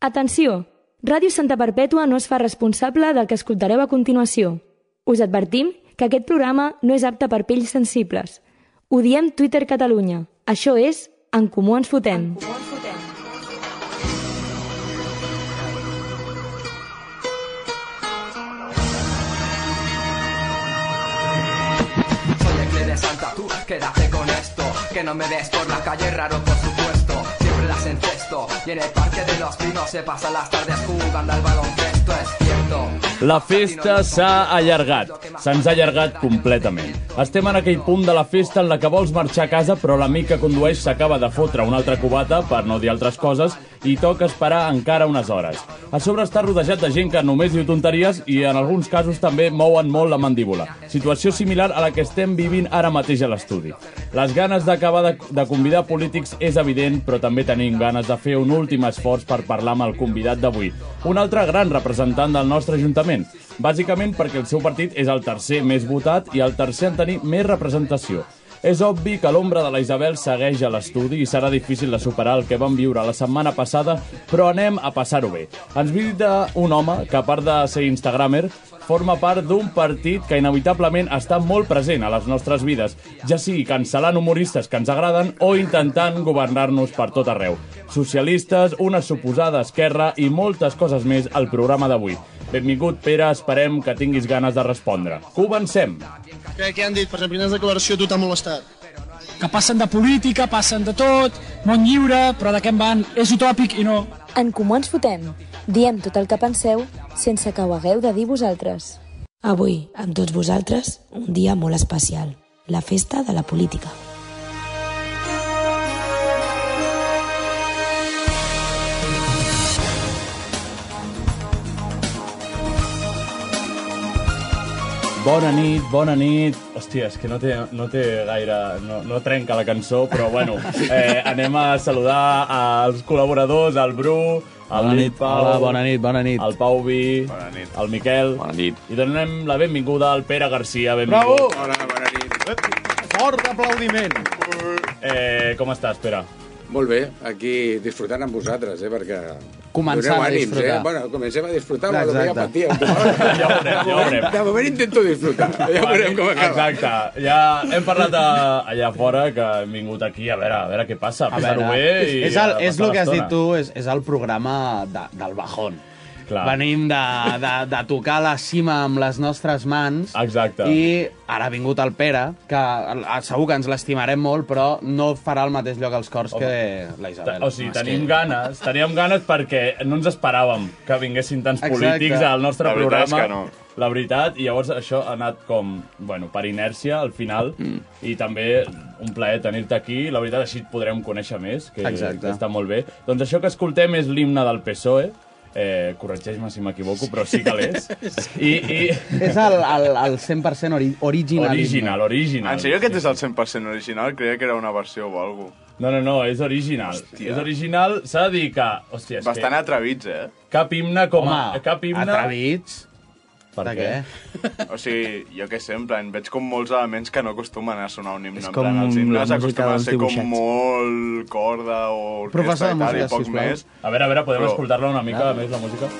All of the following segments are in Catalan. Atenció! Ràdio Santa Perpètua no es fa responsable del que escoltareu a continuació. Us advertim que aquest programa no és apte per pells sensibles. Ho diem Twitter Catalunya. Això és En Comú Ens Fotem. Soy el Cle de Santa, tú quédate con esto. Que no me ves por la calle, raro por supuesto. Siempre las encesto. Y en el parque de los pinos se pasan las tardes jugando al baloncesto, es cierto. La festa s'ha allargat, se'ns ha allargat completament. Estem en aquell punt de la festa en la que vols marxar a casa però l'amic que condueix s'acaba de fotre una altra cubata, per no dir altres coses, i toca esperar encara unes hores. A sobre està rodejat de gent que només diu tonteries i en alguns casos també mouen molt la mandíbula. Situació similar a la que estem vivint ara mateix a l'estudi. Les ganes d'acabar de, de convidar polítics és evident, però també tenim ganes de fer un últim esforç per parlar amb el convidat d'avui, un altre gran representant del nostre Ajuntament, bàsicament perquè el seu partit és el tercer més votat i el tercer en tenir més representació. És obvi que l'ombra de la Isabel segueix a l'estudi i serà difícil de superar el que vam viure la setmana passada, però anem a passar-ho bé. Ens visita un home que, a part de ser instagramer, forma part d'un partit que inevitablement està molt present a les nostres vides, ja sigui cancel·lant humoristes que ens agraden o intentant governar-nos per tot arreu. Socialistes, una suposada esquerra i moltes coses més al programa d'avui. Benvingut, Pere, esperem que tinguis ganes de respondre. Comencem! Què, què han dit? Per exemple, quina declaració a tu t'ha molestat? que passen de política, passen de tot, món lliure, però de què en van? És utòpic i no. En Comú Ens Fotem. Diem tot el que penseu sense que ho hagueu de dir vosaltres. Avui, amb tots vosaltres, un dia molt especial. La festa de la política. Bona nit, bona nit. Hòstia, és que no té, no té gaire... No, no trenca la cançó, però bueno, eh, anem a saludar als col·laboradors, al Bru, al Bona Lil nit, Pau, hola, bona nit, bona nit. al Pau Vi, al Miquel, Bona nit. i donem la benvinguda al Pere Garcia. Benvingut. Hola, bona nit. Fort aplaudiment! Eh, com estàs, Pere? Molt bé, aquí disfrutant amb vosaltres, eh, perquè... Començant doneu a disfrutar. Eh? Bueno, comencem a disfrutar, però Exacte. ja patia. Ja ho veurem, ja ho veurem. De moment intento disfrutar, ja veurem com acaba. Exacte. Ja hem parlat a, allà fora, que hem vingut aquí a veure, a veure què passa, a passar-ho bé i és, el, a és passar el que has dit l'estona. tu, és, és el programa de, del bajón. Clar. Venim de, de, de tocar la cima amb les nostres mans Exacte. i ara ha vingut el Pere, que eh, segur que ens l'estimarem molt, però no farà el mateix lloc als cors que la Isabel. O sigui, És tenim que... ganes, teníem ganes perquè no ens esperàvem que vinguessin tants Exacte. polítics al nostre La veritat és programa. que no. La veritat, i llavors això ha anat com, bueno, per inèrcia al final, mm. i també un plaer tenir-te aquí. La veritat, així et podrem conèixer més, que Exacte. està molt bé. Doncs això que escoltem és l'himne del PSOE, eh, corregeix-me si m'equivoco, però sí que l'és. I, i... És el, el, el 100% ori original. Original, original. En sèrio aquest és el 100% original? Creia que era una versió o alguna cosa. No, no, no, és original. Hòstia. És original, s'ha de dir que... Hòstia, és Bastant que atrevits, eh? cap himne com a... Home, eh, cap himne... atrevits. Per de què? O sigui, jo què sé, en plan, veig com molts elements que no acostumen a sonar un himne. És En com plan, els la himnes música acostumen a dels ser com dibuixets. molt corda o orquestra Professor de i tal, música, i poc sisplau. més. A veure, a veure, podem Però- escoltar-la una mica més, la música?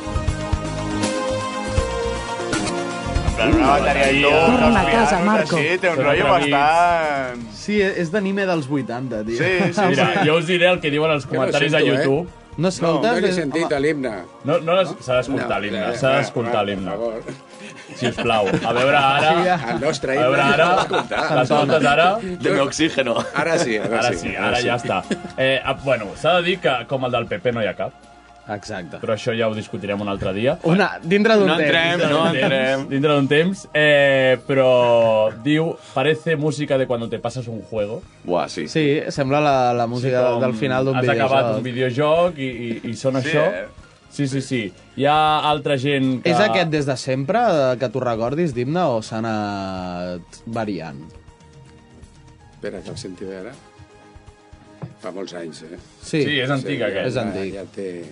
En plan, una bateria i tot, Torna els a pianos, casa, Marco. així, té un Són rotllo atrevits. bastant... Sí, és d'anime dels 80, tio. Sí, sí, sí. Mira, jo us diré el que diuen els no comentaris a sento, eh? YouTube. No No, escoltes? no l'he És- sentit, home, l'himne. No, no les- s'ha d'escoltar l'himne, s'ha d'escoltar l'himne, si us plau. A veure ara, El nostre a veure himne. ara, les notes ara... Deme oxígeno. Ara Ah, sí, ara, Ara sí, ara ja està. Eh, ah, bueno, s'ha de dir que com el del PP no hi ha cap, Exacte. però això ja ho discutirem un altre dia. Una, dintre d'un No entrem, no Dins d'un temps, entrem. Dintre d'un temps, eh, però diu, parece música de cuando te pasas un juego. Buah, sí. sí. Sí, sembla la, la música Com del final d'un Has videojoc. acabat un videojoc i, i, i sona Sí, això. eh? Sí, sí, sí. Hi ha altra gent que... És aquest des de sempre eh, que tu recordis d'himne o s'ha anat variant? Espera, que el sentiré ara. Fa molts anys, eh? Sí, Sí, és antic, ja, aquest. És antic. Ja, ja, té,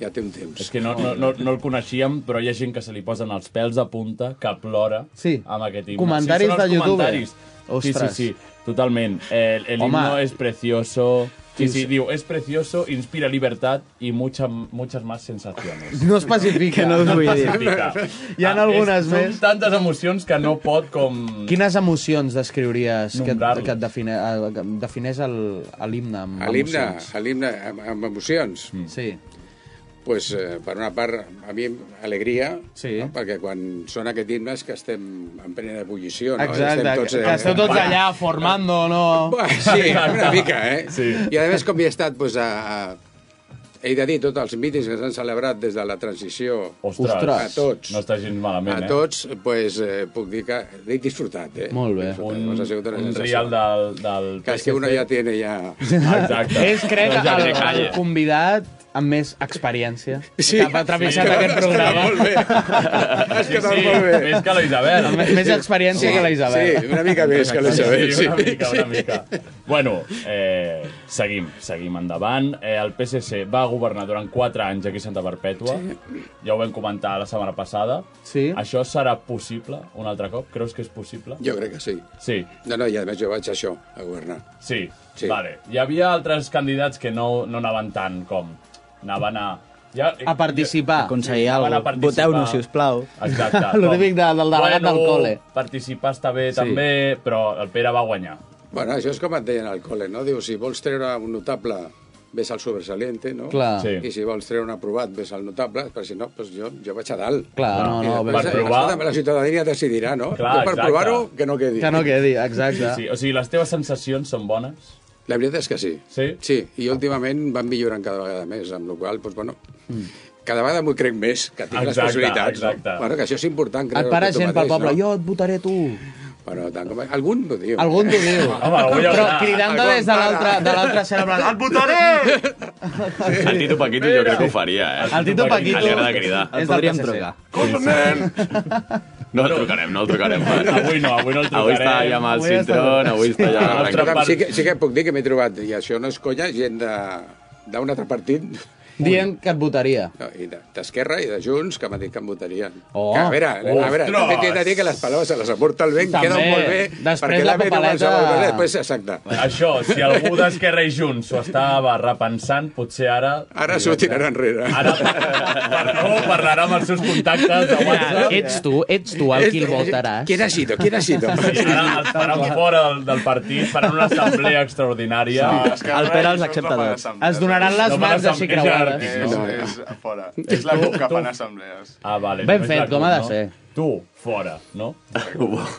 ja té un temps. És que no, no, no, no el coneixíem, però hi ha gent que se li posen els pèls a punta, que plora Sí. amb aquest himne. Comentaris sí, són els de youtuber. comentaris. Sí, Ostres. sí, sí, totalment. El, el Home. himno és precioso. Sí, sí, diu, es precioso, inspira libertad y mucha, muchas más sensaciones. No especifica. Que no us vull dir. Hi ha Ah, algunes és- són més. tantes emocions que no pot com... Quines emocions descriuries que, Nombrar-les. que et define, eh, que defineix el- a l'himne amb A l'himne, emocions? Mm. a l'himne, amb, amb emocions. Sí. Pues, eh, per una part, a mi, alegria, sí. no? perquè quan sona aquest himne és que estem en plena ebullició, no? Exacte, estem eh, que- que esteu tots allà formando, no? Bueno, sí, una Exacte. mica, eh? Sí. I a més, com hi he estat, pues, a, a... he de dir, tots els mítings que s'han celebrat des de la transició a tots, No està gens a malament, eh? tots, pues, eh, puc dir que l'he disfrutat, eh? Molt bé. He disfrutat. Un- Doncs ha sigut una un sensació. rial del- del Que és que PSC. uno ja tiene ja... Exacte. És, crec, Doncs ja el, que calla. el convidat amb més experiència Sí. que ha travessat Sí, aquest has quedat programa. molt bé. Has quedat molt bé. Més que la Isabel. Amb més experiència que la Isabel. Sí, una mica més que la Isabel, Sí, una sí. mica, una mica. Bueno, eh, seguim, seguim endavant. Eh, el PSC va governar durant 4 anys aquí a Santa Perpètua. Sí. Ja ho vam comentar la setmana passada. Sí. Això serà possible un altre cop? Creus que és possible? Jo crec que sí. Sí. No, no, i a més jo vaig a això, a governar. Sí, Sí. sí. Vale. Hi havia altres candidats que no, no anaven tant com... Anaven a... Ja, eh, A participar. Aconseguir alguna cosa. Voteu-nos, sisplau. Exacte. Lo típic de- del delegat del col·le. Participar està bé Sí. sí. també, però el Pere va guanyar. Bueno, això és com et deien al col·le, no? Diu, si vols treure un notable, ves al sobresaliente, no? Clar. Sí. I si vols treure un aprovat, ves al notable, però si no, doncs jo, jo vaig a dalt. Clar, no, I no, després, per eh, provar- escolta'm, la ciutadania decidirà, no? Clar, jo per exacte. provar-ho, que no quedi. Sí, sí. O sigui, les teves sensacions són bones? La veritat és que sí. Sí? Sí, i últimament van millorant cada vegada més, amb la qual cosa, doncs, bueno, cada vegada m'ho crec més, que tinc les Mm. Exacte, possibilitats. no? exacte. Bueno, que això és important. Et para gent pel poble, jo et votaré tu. Bueno, tant com... Algun t'ho diu. Algun t'ho diu. Home, algú ja ho Però sap. cridant-te Algun des de l'altra para. de l'altra escena, en plan, et votaré! El Tito Paquito jo crec que ho faria, eh? El Tito Paquito. Li agrada cridar. És del Podríem PSC. trucar. No el trucarem, no el trucarem. Avui no, avui no el Avui està trucarem. ja amb el Avui està- cintrón, avui està ja... Escolta'm, arrencat. sí, que, sí que puc dir que m'he trobat, i això no és conya, gent de- d'un altre partit, Dient que et votaria. no, i de- d'Esquerra i de Junts, que m'ha dit que em votarien. Oh. Que, a veure, a veure, Ostres! també t'he de dir que les paraules se les aporta el vent, També. queden molt bé, Després perquè la l'AVE no me'ls papeleta- va voler, després, eh, exacte. Això, si algú d'Esquerra i Junts ho estava repensant, potser ara... Ara s'ho tirarà enrere. Ara no, parlarà amb els seus contactes de WhatsApp. Ets tu, ets tu el qui el votaràs. ¿Quién ha sido? ¿Quién ha sido? eh, Sí, ara els faran fora del, del partit, faran una assemblea extraordinària. Sí, El Pere els accepta tots. Es donaran les mans així creuades. És, és a fora. És la CUP que fan assemblees. Ah, vale. Ben només fet, la com ha de no? ser. Tu, fora, no?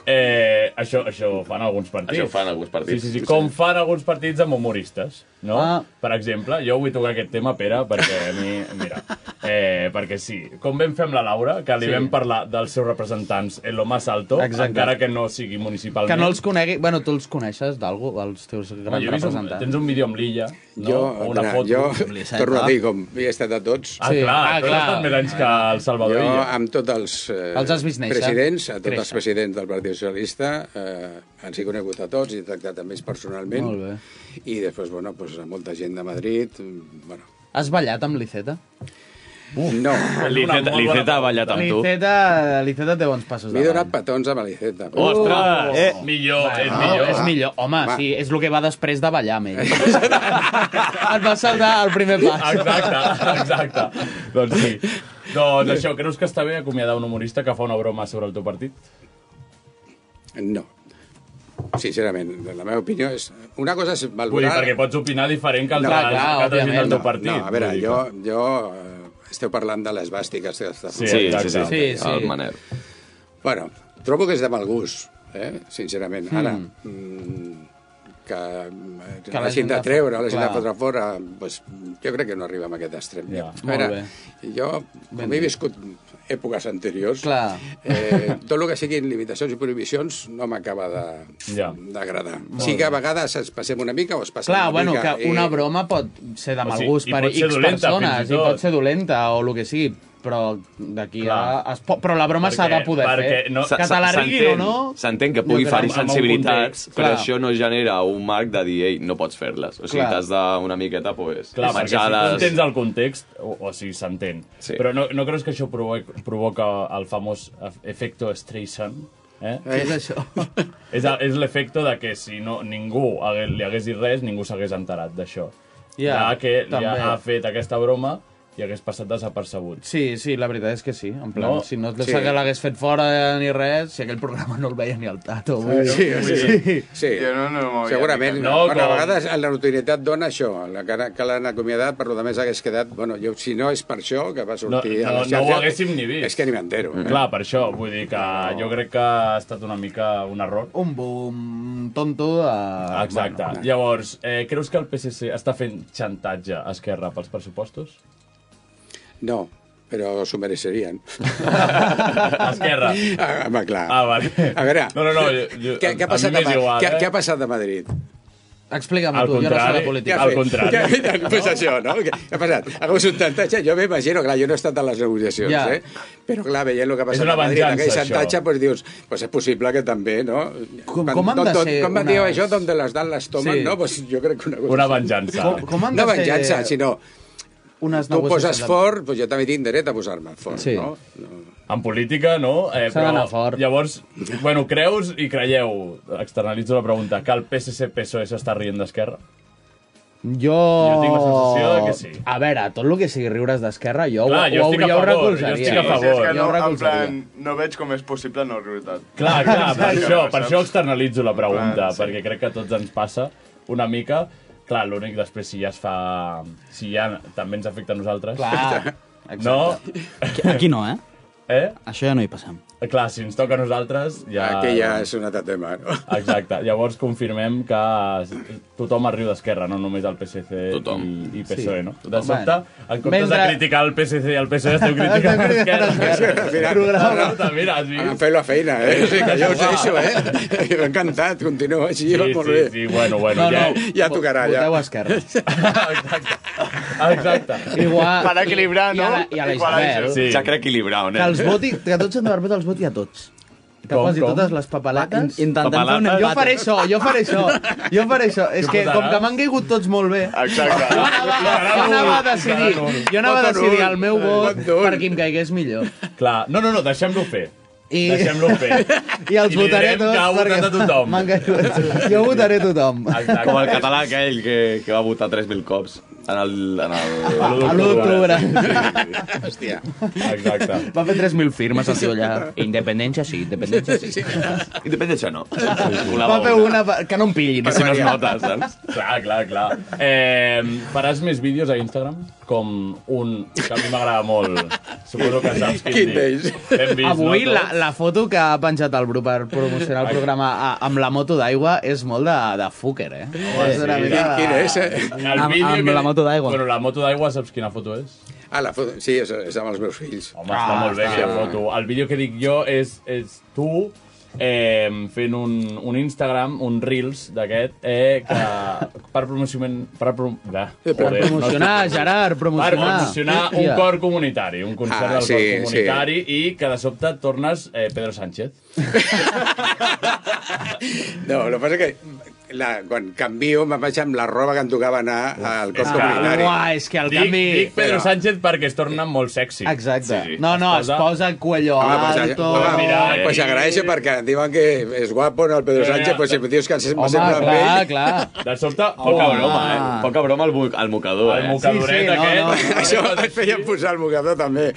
Eh, això, això ho fan alguns partits. Això ho fan alguns partits. Sí, sí, sí, com fan alguns partits amb humoristes, no? Ah. Ah. Per exemple, jo vull tocar aquest tema, Pere, perquè a mi... Mira, eh, perquè sí. Com vam fer amb la Laura, que li Sí. sí. vam parlar dels seus representants en lo más alto, Exacte. encara que no sigui municipalment. Que no els conegui... Bueno, tu els coneixes d'algú, els teus Home, grans jo he vist un, representants? tens un vídeo amb l'Illa, no? Jo, O una mira, foto. jo torno a dir, com he estat a tots... Ah, clar, ah, tu has estat més anys que el Salvador Jo, Illa. amb tots els, eh, Els has vist néixer? presidents, a tots Créixer. els presidents del Partit Socialista, eh, ens he conegut a tots i he tractat amb ells personalment. Molt bé. I després, bueno, pues, a molta gent de Madrid... mm, Bueno, Has ballat amb l'Iceta? no. L'Iceta L'Iceta ha ballat amb tu. L'Iceta, l'Iceta té bons passos M'he davant. donat petons amb l'Iceta. Ostres! Eh, Millor, és No, millor. Ah, és millor. Home, Va. sí, és el que va després de ballar amb ell. Et va saltar el primer pas. Exacte, exacte. doncs sí. Doncs això, creus que està bé acomiadar un humorista que fa una broma sobre el teu partit? No. Sincerament, la meva opinió és... Una cosa és valorar... Vull dir, perquè pots opinar diferent que altres, no, que altra gent del teu partit. No, a veure, Vull dir jo, que- jo... eh, Esteu parlant de les bàstiques que està Sí, sí, sí, sí, Ah, el Manel. Bueno, trobo que és de mal gust, eh? sincerament. Mm. Hmm. Ara, mm. que, eh, Que la gent de fa- treure, la gent de clar. fotre fora, doncs, jo crec que no arriba a aquest extrem. Ja, A molt veure, Jo, com he viscut èpoques anteriors, Clar. eh, tot el que siguin limitacions i prohibicions no m'acaba de- Ja. d'agradar. Molt Sí que a vegades es passem una mica o es passem Clar, una bueno, mica. que una broma pot ser de O mal sigui, gust i per pot ser X dolenta, fins persones, i i tot. pot ser dolenta o el que sigui, però d'aquí a... Clar. Es po... Però la broma s'ha de poder fer. Que te la riguin o no... S'entén que pugui Jo crec fer-hi que amb- amb un sensibilitats, context, però clar. això no genera un marc de dir, ei, no pots fer-les. O sigui, Clar. t'has d'una miqueta, pues, Clar, perquè si tu menjar-les... entens el context, o, o sigui, s'entén. Sí. Però no, no creus que això provoca, provoca el famós ef- efecte Streisand? Eh? Què és això? És, a- és l'efecte de que si no, ningú hagué, li hagués dit res, ningú s'hagués enterat d'això. ja Ja, que també. ja ha fet aquesta broma i hagués passat desapercebut. Sí, sí, la veritat és que sí. En plan, No? si no Sí. sí. l'hagués fet fora ni res, si aquell programa no el veia ni el Tato. vull Sí, dir. sí, sí. sí. no, no m'havia Segurament. ficat. No, No, bueno, com- A vegades la notorietat dona això, la que, que l'han acomiadat, per lo de més hagués quedat... Bueno, jo, si no és per això que va No, sortir a no, les no ho xarxes, haguéssim ni vist. és que ni m'entero. eh? Mm. Clar, per això, vull dir que jo crec que ha estat una mica un error. Un boom tonto de... Exacte. Bueno, Llavors, eh, creus que el PSC està fent xantatge a Esquerra pels pressupostos? No, però s'ho mereixerien. Esquerra. Ah, home, clar. Ah, vale. A veure, No, no, no, jo- jo- què, què, a ha passat mi a, m'és Ma- igual, què, eh? què ha passat a Madrid? Explica'm Al tu, jo no sé contrari, de política. al contrari. Què, ha fet? pues això, no? Què ha passat? Ha hagut un xantatge? Jo m'imagino, clar, jo no he estat a les negociacions, Ja. eh? Però clar, veient el que ha És passat una a Madrid, venjança, aquell això. xantatge, doncs dius, pues és possible que també, no? Com, com han de tot, ser Com van dir unes- això, d'on les dan les tomen, Sí. no? Pues jo crec que una cosa... Una venjança. Com- com han no de ser- venjança, sinó... Unes Tu negociacions poses de- fort, doncs jo també tinc dret a posar-me fort, Sí. no? En política, no? Eh, S'ha d'anar fort. Llavors, bueno, creus i creieu, externalitzo la pregunta, que el PSC-PSOE s'està rient d'Esquerra? Jo... Jo tinc la sensació de que sí. A veure, tot el que sigui riures d'esquerra, jo, Clar, ho, jo ho estic a hauríeu favor, jo recolzaria. estic a Sí, és que Jo no, ho en recolzaria. plan, no veig com és possible no riure-te'n. Clar, clar, per Sí, això, saps? per això externalitzo la pregunta, perquè crec que a tots ens passa una mica. Clar, l'únic després, si ja es fa... Si ja també ens afecta a nosaltres. Clar, No? Aquí no, eh? Eh? Això ja no hi passem. Clar, si ens toca a nosaltres... Ja... Aquí ja és un altre tema, no? Exacte. Llavors confirmem que tothom es riu d'Esquerra, no només el PSC tothom. i, i PSOE, Sí. E, no? De Tothom. sobte, en comptes Mentre- de criticar el PSC i el PSOE, E, esteu criticant Esteu Esquerra. criticant Esquerra. E. Programa. No, no, mira, has Han vist? fet la feina, eh? Sí, que jo us deixo, eh? M'ha encantat, continua així, Sí, va molt sí, bé. sí, bueno, bueno, No, ja- no, ja tocarà, ja. Voteu Esquerra. Exacte. Igual... Per equilibrar, no? I a la, i a la Isabel. Sí. Ja crec equilibrar, on Que els voti, que tots en Barbet els voti a tots. Que Com, posi com? totes les papeletes. in- intentem Papeletes? fer un Jo empat. faré això, jo faré això. Jo faré això. És que, com posaràs? que m'han caigut tots molt bé, Exacte. jo anava, jo anava a decidir, jo anava a decidir el meu vot per qui em caigués millor. Clar, no, no, no, deixem-lo fer. I... Deixem-lo fer. I els I li votaré direm tots. que ha votat perquè a tothom. m'han caigut. Jo votaré a tothom. Com el català aquell que, que va votar 3.000 cops en el... En el... A l'u d'octubre. Hòstia. Exacte. Va fer 3.000 firmes, el tio allà. Independència sí, independència sí. Independència no. Va fer una... per- Que no em pillin. Que si no es nota, saps? Clar, clar, clar. Eh, faràs més vídeos a Instagram? Com un que a mi m'agrada molt. Suposo que saps quin, Quin dic. Hem vist, Avui no, la, tots? la foto que ha penjat el Bru per promocionar el programa a, amb la moto d'aigua és molt de, de fucker, eh? És una mica de- eh? El Amb- vídeo amb que- la moto d'aigua. Bueno, la moto d'aigua, saps quina foto és? Ah, la foto, sí, és, és amb els meus fills. Home, Ah, està molt bé aquella foto. El vídeo que dic jo és, és tu eh, fent un, un Instagram, un Reels d'aquest, eh, que per promocionament... Per, prom... de, Per promocionar, estic- Gerard, promocionar. Per promocionar un Hòstia. cor comunitari, un concert Ah, del sí, cor sí. comunitari i que de sobte tornes eh, Pedro Sánchez. No, el que passa que la, quan canvio me'n vaig amb la roba que em tocava anar al és cos que- comunitari. Uah, Ah, és que el dic, canvi- Dic Pedro Però- Sánchez perquè es torna molt sexy. Exacte. No, no, es posa el cuello Home, pues, ah, alto... home, eh. pues agraeixo perquè em diuen que és guapo no, el Pedro Mira, Sánchez, mira. però si em dius que em sembla amb ell... Ah. clar. De sobte, poca Home. broma, eh? Poca broma al, mo al mocador, Al eh? mocadoret Sí, sí, no, aquest. no. Això et feia posar el mocador, també.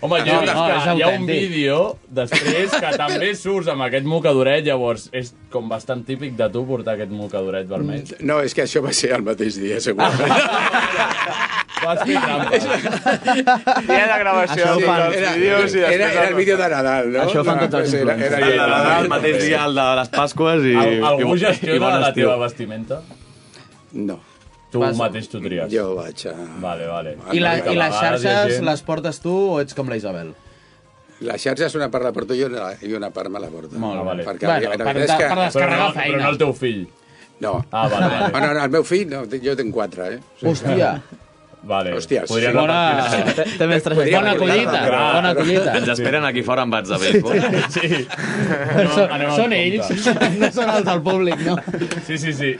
Home, jo No, no, no, que és hi ha un autèntic. vídeo després que també surts amb aquest mocadoret, llavors és com bastant típic de tu portar aquest mocadoret vermell. No, és que això va ser el mateix dia, segurament. Ah. Vas fer trampes. Dia de gravació, Això ho fan- dels vídeos i era, després... era, era el vídeo de Nadal, no? Això ho fan No, tots els pues era- era influencers. el de Nadal, El mateix també. dia el de les Pasques i... Al- Algú i- i bon gestiona la estiu. teva vestimenta? No. Tu Vas- mateix t'ho tries. Jo vaig eh, a... Vale, vale. I, la, I les xarxes gent- les portes tu o ets com la Isabel? La xarxa és una part la porto jo i una part me la porto. Molt Ah, vale. Perquè bueno, la veritat és que... però no, Però no el teu fill. No. Ah, vale, vale. No, no, no, el meu fill, no, jo tinc quatre, eh? Hòstia. Vale. Hòstia, Podrien repartir-se. També és Podríem Bona repartir-se. collita, Clar. bona collita. Ens esperen aquí fora amb bats de béisbol. Sí. Són, són ells, no són els del públic, no? Sí, sí, sí.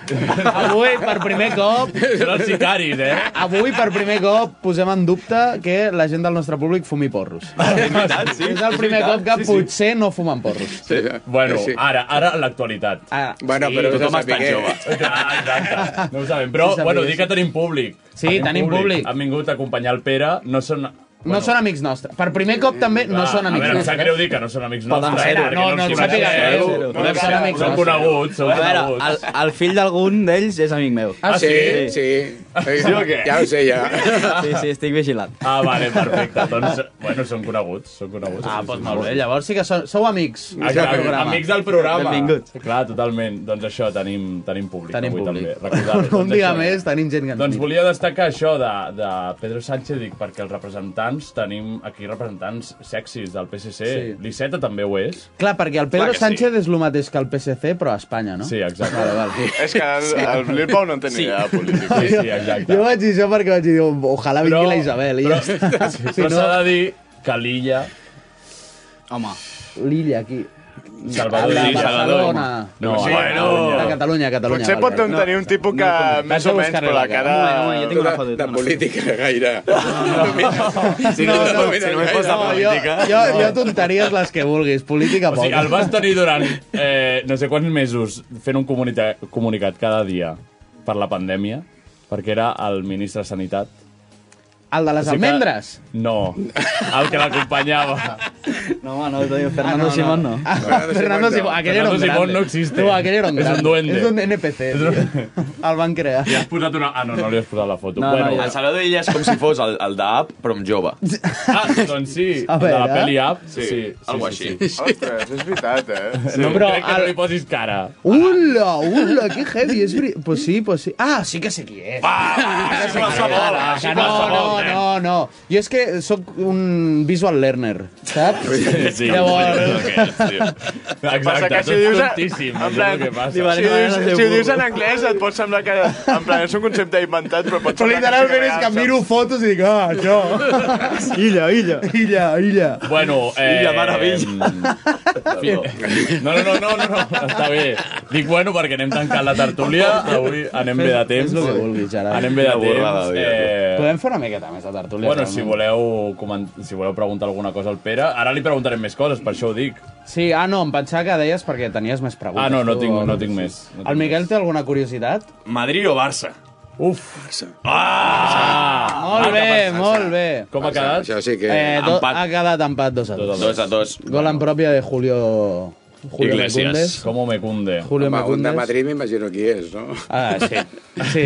Avui, per primer cop... Són els sicaris, eh? Avui, per primer cop, posem en dubte que la gent del nostre públic fumi porros. sí, és el primer cop que potser no fumen porros. Sí. Bueno, Sí, sí. ara, ara l'actualitat. Ah, Bueno, sí, però és tothom a està saber. jove. Ah, Exacte, no ho sabem. Però, Sí, sabia, bueno, sí. dir que tenim públic. Sí, tenim públic. Han vingut a acompanyar el Pere, no són... No són amics nostres. Per primer cop també no Va, són amics Ah, A veure, em sap nostres. greu dir que no són amics Poden nostres. ser-ho, perquè no, no, ens no, coneixem. no, Eh, no, no, podem no, ser no, amics, no, Són no. coneguts, són A veure, el, coneguts. el fill d'algun d'ells és amic meu. Ah, sí? Sí. Sí. Sí o què? Ja ho sé, ja. Sí, sí, estic vigilant. Ah, vale, perfecte. Doncs, bueno, són coneguts, són coneguts. Ah, doncs molt bé. Llavors sí que sou, sou amics. Ah, clar, amics del programa. Benvinguts. Clar, totalment. Doncs això, tenim, tenim públic Tenim avui públic. també. Recordar-ho. Un Doncs dia això. més tenim gent que ens Doncs mira. volia destacar això de, de Pedro Sánchez, dic, perquè els representants tenim aquí representants sexis del PSC. Sí. Sí. L'Iceta també ho és. Clar, perquè el Pedro Clar que sí. Sánchez és el mateix que el PSC, però a Espanya, no? Sí, exacte. Vale, vale. És que el, el Bilbao no en té ni idea de política. Sí, sí, exacte. Jo vaig dir això perquè vaig dir, "Oh, ojalà vingui la Isabel. I ja està. Sí, però s'ha de dir que l'Illa... Home. L'illa, aquí. Salvador de Illa. Barcelona. No, Sí, bueno. De Catalunya, Catalunya. Potser pot vale. tenir un tipus que més o menys, però la cara... De, de política gaire. Si no, no, si no, fos de política. Jo, jo tonteries les que vulguis, política O poc. sigui, el vas tenir durant eh, no sé quants mesos fent un comunita- comunicat cada dia per la pandèmia, perquè era el ministre de Sanitat. El de O les sigui que- almendres? No, el que l'acompanyava. No, home, no, Ah, Fernando Simón no. Fernando Simón, aquell era un Fernando grande. Simón no existe. No, aquell era un És un grande. duende. És un NPC. tio. El van crear. Has posat una... Ah, no, no li has posat la foto. No, bueno, bueno, no, el Salvador Illa és com si fos el, el d'App, però amb jove. Ah, doncs sí, A el de la veure. pel·li Up. Sí, Sí, sí, algo sí, així. Sí. Ostres, és veritat, eh? Sí, no, però crec que no li posis cara. Ula, ula, que heavy, és veritat. Pues sí, pues sí. Ah, sí que sé qui és. Va, sí, Ah, eh? que no, no, no, no. Jo és que sóc un visual learner, saps? Sí, Llavors... Exacte, passa que si ho dius, en plan, si, ho dius, si ho dius en anglès et pot semblar que... En plan, és un concepte inventat, però pot Però semblar literalment és que miro fotos i dic, ah, això... Illa, illa. Illa, illa. Bueno, eh... em, Illa, meravella. No, no, no, no, no, no, està bé. Dic bueno perquè anem tancant la tertúlia, avui anem bé de temps. Fes el que vulguis, Gerard. Anem bé de Quina burrada, temps. tio. Eh... Podem fer una miqueta més de tertúlia? Bueno, realment? si voleu, coment... si voleu preguntar alguna cosa al Pere, ara li preguntarem més coses, per això ho dic. Sí, ah, no, em pensava que deies perquè tenies més preguntes. Ah, no, no tu, tinc, o no tinc més. No El tinc Miquel té alguna curiositat? Madrid o Barça? Uf. Ah! Molt Marca bé, Barça. molt bé. Com ha Barça, quedat? això sí que- Eh, do, Empat. ha quedat empat 2 a 2. Dos a dos. Gol en pròpia de Julio... Julio Iglesias. Com me cunde. Julio Home, un de Mecundes. Madrid m'imagino qui és, no? Ah, sí. Sí.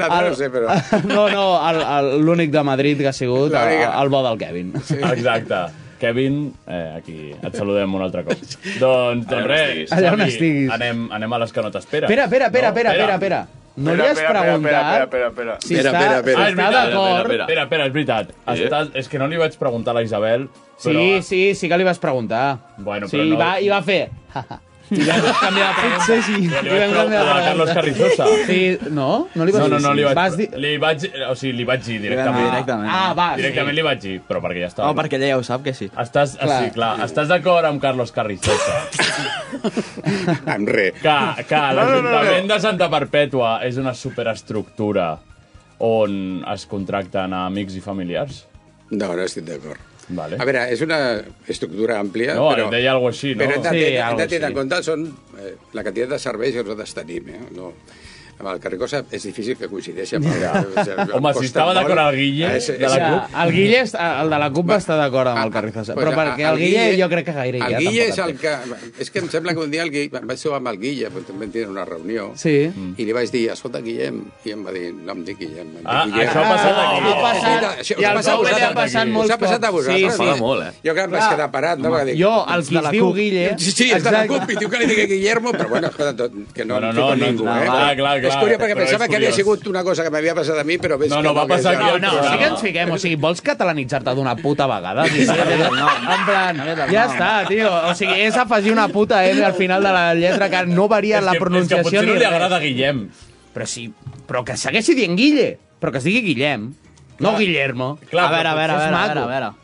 L'altre no sé, però... No, no, el- el- l'únic de Madrid que ha sigut el, L'única. el bo del Kevin. Sí. Exacte. Kevin, eh, aquí et saludem un altre cop. doncs, Allà doncs on res, estiguis. Allà on Xavi, estiguis. anem, anem a les que no t'espera. Espera, espera, espera, espera, espera, espera. No li has preguntat... Si està, si Ah, és està veritat, d'acord... Espera, espera, espera, és veritat. Està, és que no li vaig preguntar a la Isabel, Sí, però... sí, sí que li vas preguntar. Bueno, sí, però i no- va, i va fer... "Ja, ja". I vam canviar de pregunta. Sí, sí. Li I vam vaig canviar de preguntar a Carlos Carrizosa. Sí, no? No li vas no, no, no, li vaig, Vas dir... li vaig, o sigui, li vaig dir directament. Ah, directament. Oh, Ah, va, sí. Directament li vaig dir, però perquè ja estava... No, perquè ella ja ho sap que sí. Estàs, clar. Clar. Sí, clar, estàs d'acord amb Carlos Carrizosa? amb re. Que, que No, no, no, no. l'Ajuntament de Santa Perpètua és una superestructura on es contracten a amics i familiars? No, no estic d'acord. Vale. A veure, és una estructura àmplia, No, però... deia alguna així, no? Però hem de, sí, hem de algo tenir en així. compte són, eh, la quantitat de serveis que nosaltres tenim. Eh? No. Amb el Carricosa és difícil que coincideixi amb el... Ja. o sigui, em Home, si costa estava molt. d'acord el Guille, És- de la és- CUP. El Guille, està- el de la CUP va estar d'acord Ah, amb el Carrizosa, però perquè el Guille jo crec que gaire El ja Guille és el tampoc que... És que em sembla que un dia el Guille... Vaig trobar amb el Guille, perquè també tenia una reunió, Sí. i li vaig dir, escolta, Guillem, i em va dir, no em dic Guillem, em dic Ah, Guillem. això ha passat aquí. Oh, Ha passat. mira, I això us al passa a Pau li ha vosaltres. passat Us molts ha passat a cops. vosaltres. Sí, sí. Enfada molt, eh? Jo que em vaig Clar. quedar parat, no? Home, Va dir, jo, els qui "Qui es diu Guille- Sí, sí, els de la Exacte. CUP, i diu que li digui Guillermo, però bueno, escolta, tot, que no, Bueno, em fico no, amb no, ningú, no, eh? clar, clar, és clar, curiós, perquè però és pensava que havia curiós. sigut una cosa que m'havia passat a mi, però ves No, que no, va que és passar ja. aquí al No, sí que ens fiquem, o sigui, vols catalanitzar-te d'una puta vegada? tio? En plan, ja està, tio. O sigui, és afegir una puta M al final de la lletra que no varia És la que- és que pronunciació potser no ni li res. agrada a Guillem. Però sí, però que segueixi dient Guille. però que es digui Guillem, no Guillermo. Clar, a veure, a veure, a És veure, a maco. veure, a veure.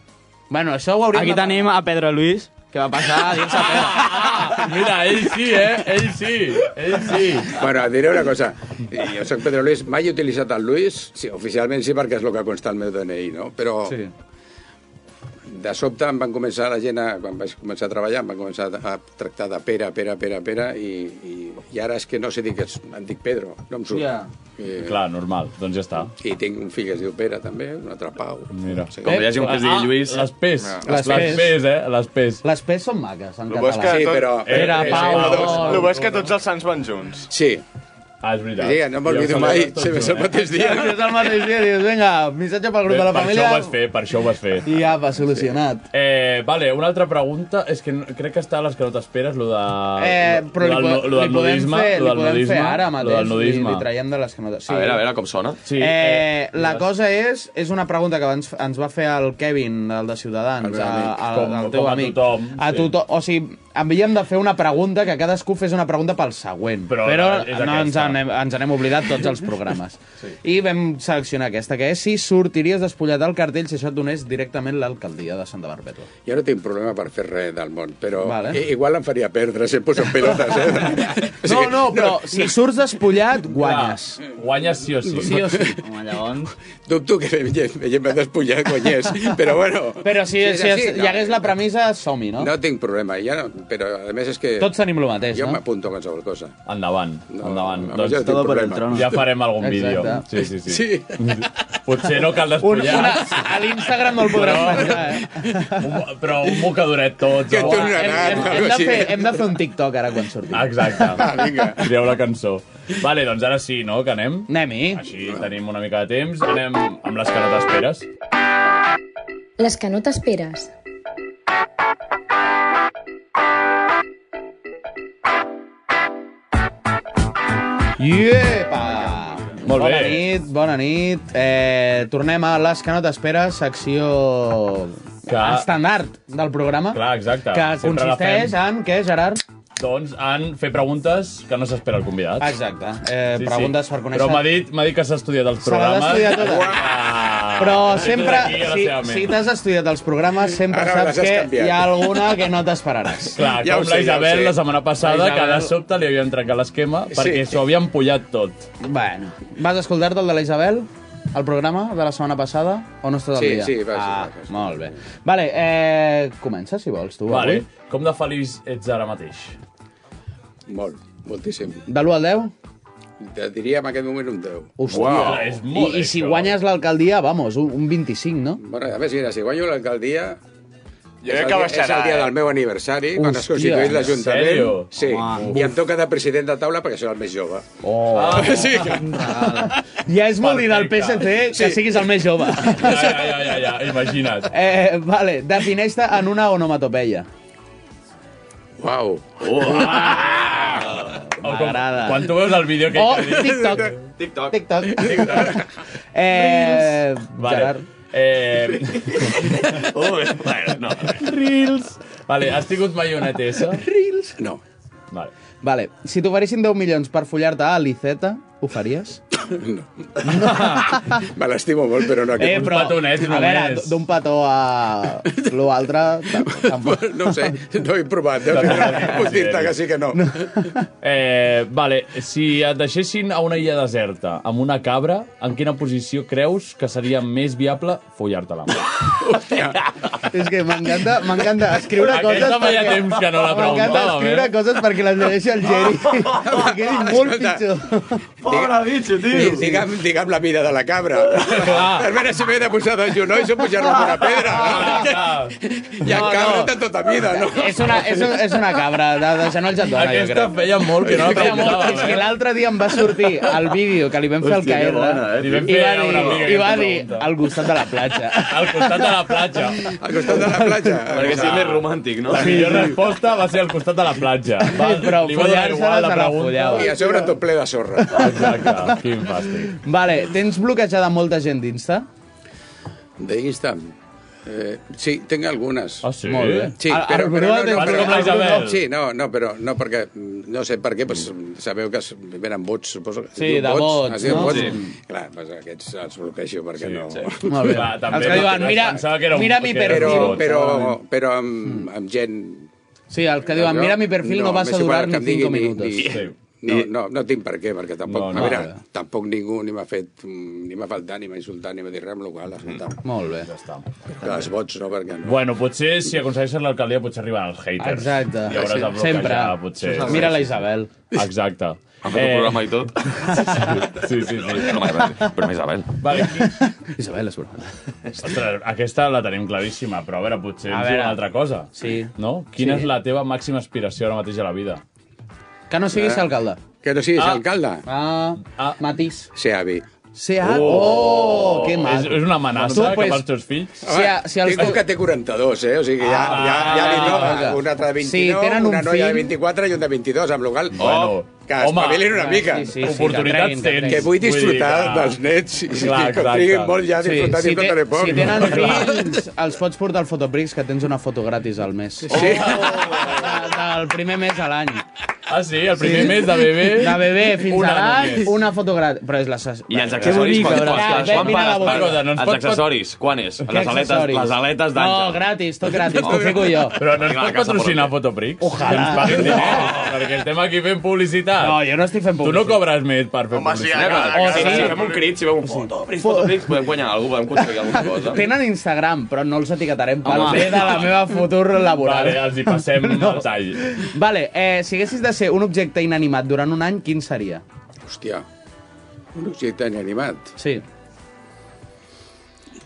Bueno, això ho hauríem Aquí de- tenim a Pedro Luis, que va passar a dir-se Pedro. Mira, ell sí, eh? Ell sí, ell sí. Bueno, et diré una cosa. Jo sóc Pedro Luis, mai he utilitzat el Luis, sí, oficialment sí, perquè és el que consta al meu DNI, no? Però sí. de sobte em van començar la gent, a, quan vaig començar a treballar, em van començar a tractar de Pere, Pere, Pere, Pere, i, i, i ara és que no sé dir que és, em dic Pedro, no em surt. Ja. I, Clar, normal, doncs ja està. I tinc un fill que es diu Pere, també, un altre Pau. Mira. Sí. Eh, Ah, Les Pes. Les, les Pes, eh? Les Pes. Les Pes són maques, en Lo bo és que català. tot- Pere, Pau... Lo- Lo bo és que tots els sants van junts. Sí. Ah, és veritat. Sí, no m'olvido mai, sempre és el mateix dia. Sí, és el mateix dia, dius, vinga, missatge pel grup de la per família... això ho vas fer, per això ho vas fer. I apa, solucionat. Eh, vale, una altra pregunta. És que no- crec que està a les que no t'esperes, lo de... Eh, però Ah, lo li, del po nu- lo li del podem nudisme, fer, lo li del podem nudisme, fer ara Lo del mateix, li, nudisme. li traiem de les que no... A veure, a veure com sona. Sí, eh, la cosa és, és una pregunta que ens, ens va fer el Kevin, el de El Ciutadans, meu a, amic. a, Com- el teu com a amic. tothom, a sí. tothom. O sigui, havíem de fer una pregunta que cadascú fes una pregunta pel següent. Però, però és no ens aquesta. n'hem ens n'hem oblidat tots els programes. Sí. I vam seleccionar aquesta, que és si sortiries despullat del cartell si això et donés directament l'alcaldia de Santa Barbètua. Jo no tinc problema per fer res del món, però Vale. vale. igual em faria perdre, sempre són pelotes, eh? No, no, però si surts despullat, guanyes. Guanyes sí o sí. Sí o sí. Home, llavors... Dubto que me, me, me despullar guanyés, però bueno... Però si, si, si sí, hi hagués la premissa, som-hi, no? No tinc problema, ja no, però a més és que... Tots tenim el mateix, jo no? Jo m'apunto a qualsevol cosa. Endavant, no, endavant. no, jo Doncs, tinc Todo por el problema. trono. ja farem algun vídeo. Sí, Exacte. sí, sí. Sí. Potser no cal despullar. Una, a l'Instagram no el podràs penjar, eh? Però un bocadoret tots. Que Uah, hem, hem, hem, de fer, hem de fer un TikTok ara quan sortim. Exacte. Trieu la cançó. Vale, doncs ara sí, no? Que anem? Anem-hi. Així tenim una mica de temps. Anem amb les que no t'esperes. Les que no t'esperes. Iepa! Molt bona bé. nit, bona nit. Eh, tornem a les que no t'esperes, secció que... estàndard del programa. Clar, exacte. Que Sempre la consisteix en què, Gerard? Doncs en fer preguntes que no s'espera el convidat. Exacte. Eh, preguntes per conèixer- Però m'ha dit, m'ha dit que s'ha estudiat els Se l'ha programes. d'estudiar tota. Ah, Però Ho té sempre, aquí a la si, seva ment. si t'has estudiat els programes, sempre Ara les saps has que canviat. hi ha alguna que no t'esperaràs. Clar, ja com la Isabel la setmana passada, que de sobte li havien trencat l'esquema Sí. perquè s'ho havien pollat tot. Bueno, vas escoltar-te el de la Isabel? El programa de la setmana passada? O no estàs al Sí, dia? sí, vas, ah, molt bé. Vale, eh, comença, si vols, tu, Vale. avui. Com de feliç ets ara mateix? Molt, moltíssim. De l'1 al 10? Et diria en aquest moment un 10. Hòstia. I, I si això. guanyes l'alcaldia, vamos, un, un 25, no? Bueno, a més, mira, si guanyo l'alcaldia... Jo crec és que el dia- baixarà, És el dia eh? del meu aniversari, Hòstia, quan es Hòstia, constituït en l'Ajuntament. sèrio? Sí, Home. i em toca de president de taula perquè soc el més jove. Oh. Ah, sí. Ja és molt dir del PSC que Sí. siguis el més jove. Ja, ja, ja, ja, ja imagina't. Eh, vale, defineix-te en una onomatopeia. Uau. M'agrada. Quan tu veus el vídeo que... Oh, TikTok. TikTok. TikTok. Eh, Vale. Gerard. Eh... Ui, bueno, no. Reels. Vale, has tingut mai una tesa? Reels. No. Vale. Vale, si t'oferessin 10 milions per follar-te a Aliceta, ho faries? Me l'estimo molt, però no aquest. Eh, eh, a veure, d'un petó a l'altre, tam- Eh, tampoc. No ho sé, no he provat. Déu Puc dir-te que sí que no. Eh, vale, si et deixessin a una illa deserta amb una cabra, en quina posició creus que seria més viable follar-te-la? És que m'encanta m'encanta escriure Aquesta coses... feia perquè- temps que no la M'encanta preguntàvem, eh? escriure Ah, coses perquè les llegeixi el Geri. Perquè quedi molt pitjor. Pobre bitxo, tio. Digue'm, digue'm la mida de la cabra. A veure si m'he de posar de genolls o pujar-me amb una pedra. Hi Ah, No, ha no. cabra de tota mida, no? És una, és, un- és una cabra, de, de genolls et dona, Aquesta jo crec. feia molt que no la eh? Feia molt, preguntàvem, és que l'altre dia em va sortir el vídeo que li vam fer al Hòstia, que Caer. bona, eh, tio. Li vam I fer va a una amiga dir, i aquesta va dir al costat de la platja. Al costat de la platja. Al costat de la platja. Perquè sí, més romàntic, no? La millor resposta va ser al costat de la platja. Va, Però li va donar follar-se-la igual la se la pregunta. follava. I a sobre tot ple de sorra. Exacte, quin fàstic. Vale, tens bloquejada molta gent d'Insta? D'Insta? Eh, sí, tinc algunes. Ah, sí? Molt bé. Sí, Ar- però, però, Arbrua no, no, de- però, com la Isabel. Sí, no, no, però no perquè, mm, no sé per què, pues, sabeu que es- venen vots, suposo. que es Sí, diu de vots, es diu no? vots. Sí. Clar, pues, aquests els bloqueixo perquè no... Molt bé. Va, també, Els que diuen, perquè "Mira- pensava que era un- mira mi que era un Però, vot, però, segurament. però amb, amb gent... Sí, el que diuen, "Mira mi perfil, no vas a m'és igual durar el ni que em digui cinco minutos". Sí. no, no, no tinc per què, perquè No, tampoc, no, no. no, a veure, tampoc ningú ni m'ha fet, mm, ni m'ha faltat, ni m'ha insultat, ni m'ha dit res, amb la qual cosa, escolta, Molt bé. Ja està. que els vots no, perquè no. Bueno, potser si aconsegueixes l'alcaldia potser arriben els haters. Exacte. I hauràs de Sí, bloquejar, sempre. potser. Mira la Isabel. Exacte. Eh, Han fet el programa i tot. Sí, sí, sí. No m'agrada, però és Isabel. Vale, qui... Isabel, és broma. Ostres, aquesta la tenim claríssima, però a veure, potser A ens veure. diu una altra cosa. Sí. No? Quina Sí. és la teva màxima aspiració ara mateix a la vida? Que no siguis Eh? alcalde. Que no siguis Ah. ah. alcalde. Ah, ah. Matís. Ser avi. Ser avi. Oh, que És, mal. és una Tu, amenaça pues, cap als teus fills? Home, si el... Tinc un que té 42, eh? O sigui, ja, Ah, ja, ja li vinga. toca un altre de 29, Sí, tenen un una noia fill. de 24 i un de 22, amb la qual cosa, Bueno, que home, espavilin una clar, mica. sí, sí, sí, que Oportunitats treguin, que tens. treguin. Que vull Vull dir disfrutar que- dels nets i Clar, que exacte. triguin molt ja a disfrutar si, sí, disfrutaré te, poc. si tenen fills, els pots portar al Fotoprix, que tens una foto gratis al mes. Sí. Oh. Del primer mes a l'any. Ah, sí? El primer mes de bebè? De bebè fins Una a l'any, només. una foto gratis. Però és la... ses- I els Què accessoris, bonic, quan, a quan, veure. quan, Ve, quan mira la pagues? boca. Pagues, els accessoris, quan és? Què Les aletes, accessoris? les aletes No, d'Àngel. gratis, tot gratis, t'ho fico jo. Però no ens Vinga, pot que se patrocinar Fotoprix? Ojalà. Que ens paguin diners, perquè estem aquí fent publicitat. No, jo no estic fent Tu no cobres més per fer Si publicitat. fem un crit, si fem un fotoprix, fotoprix, podem guanyar alguna cosa, podem aconseguir alguna cosa. Tenen Instagram, però no els etiquetarem pel Home. bé de la meva futur laboral. Vale, els hi passem no. el tall. Vale, eh, si haguessis de ser un objecte inanimat durant un any, quin seria? Hòstia, un objecte inanimat. Sí.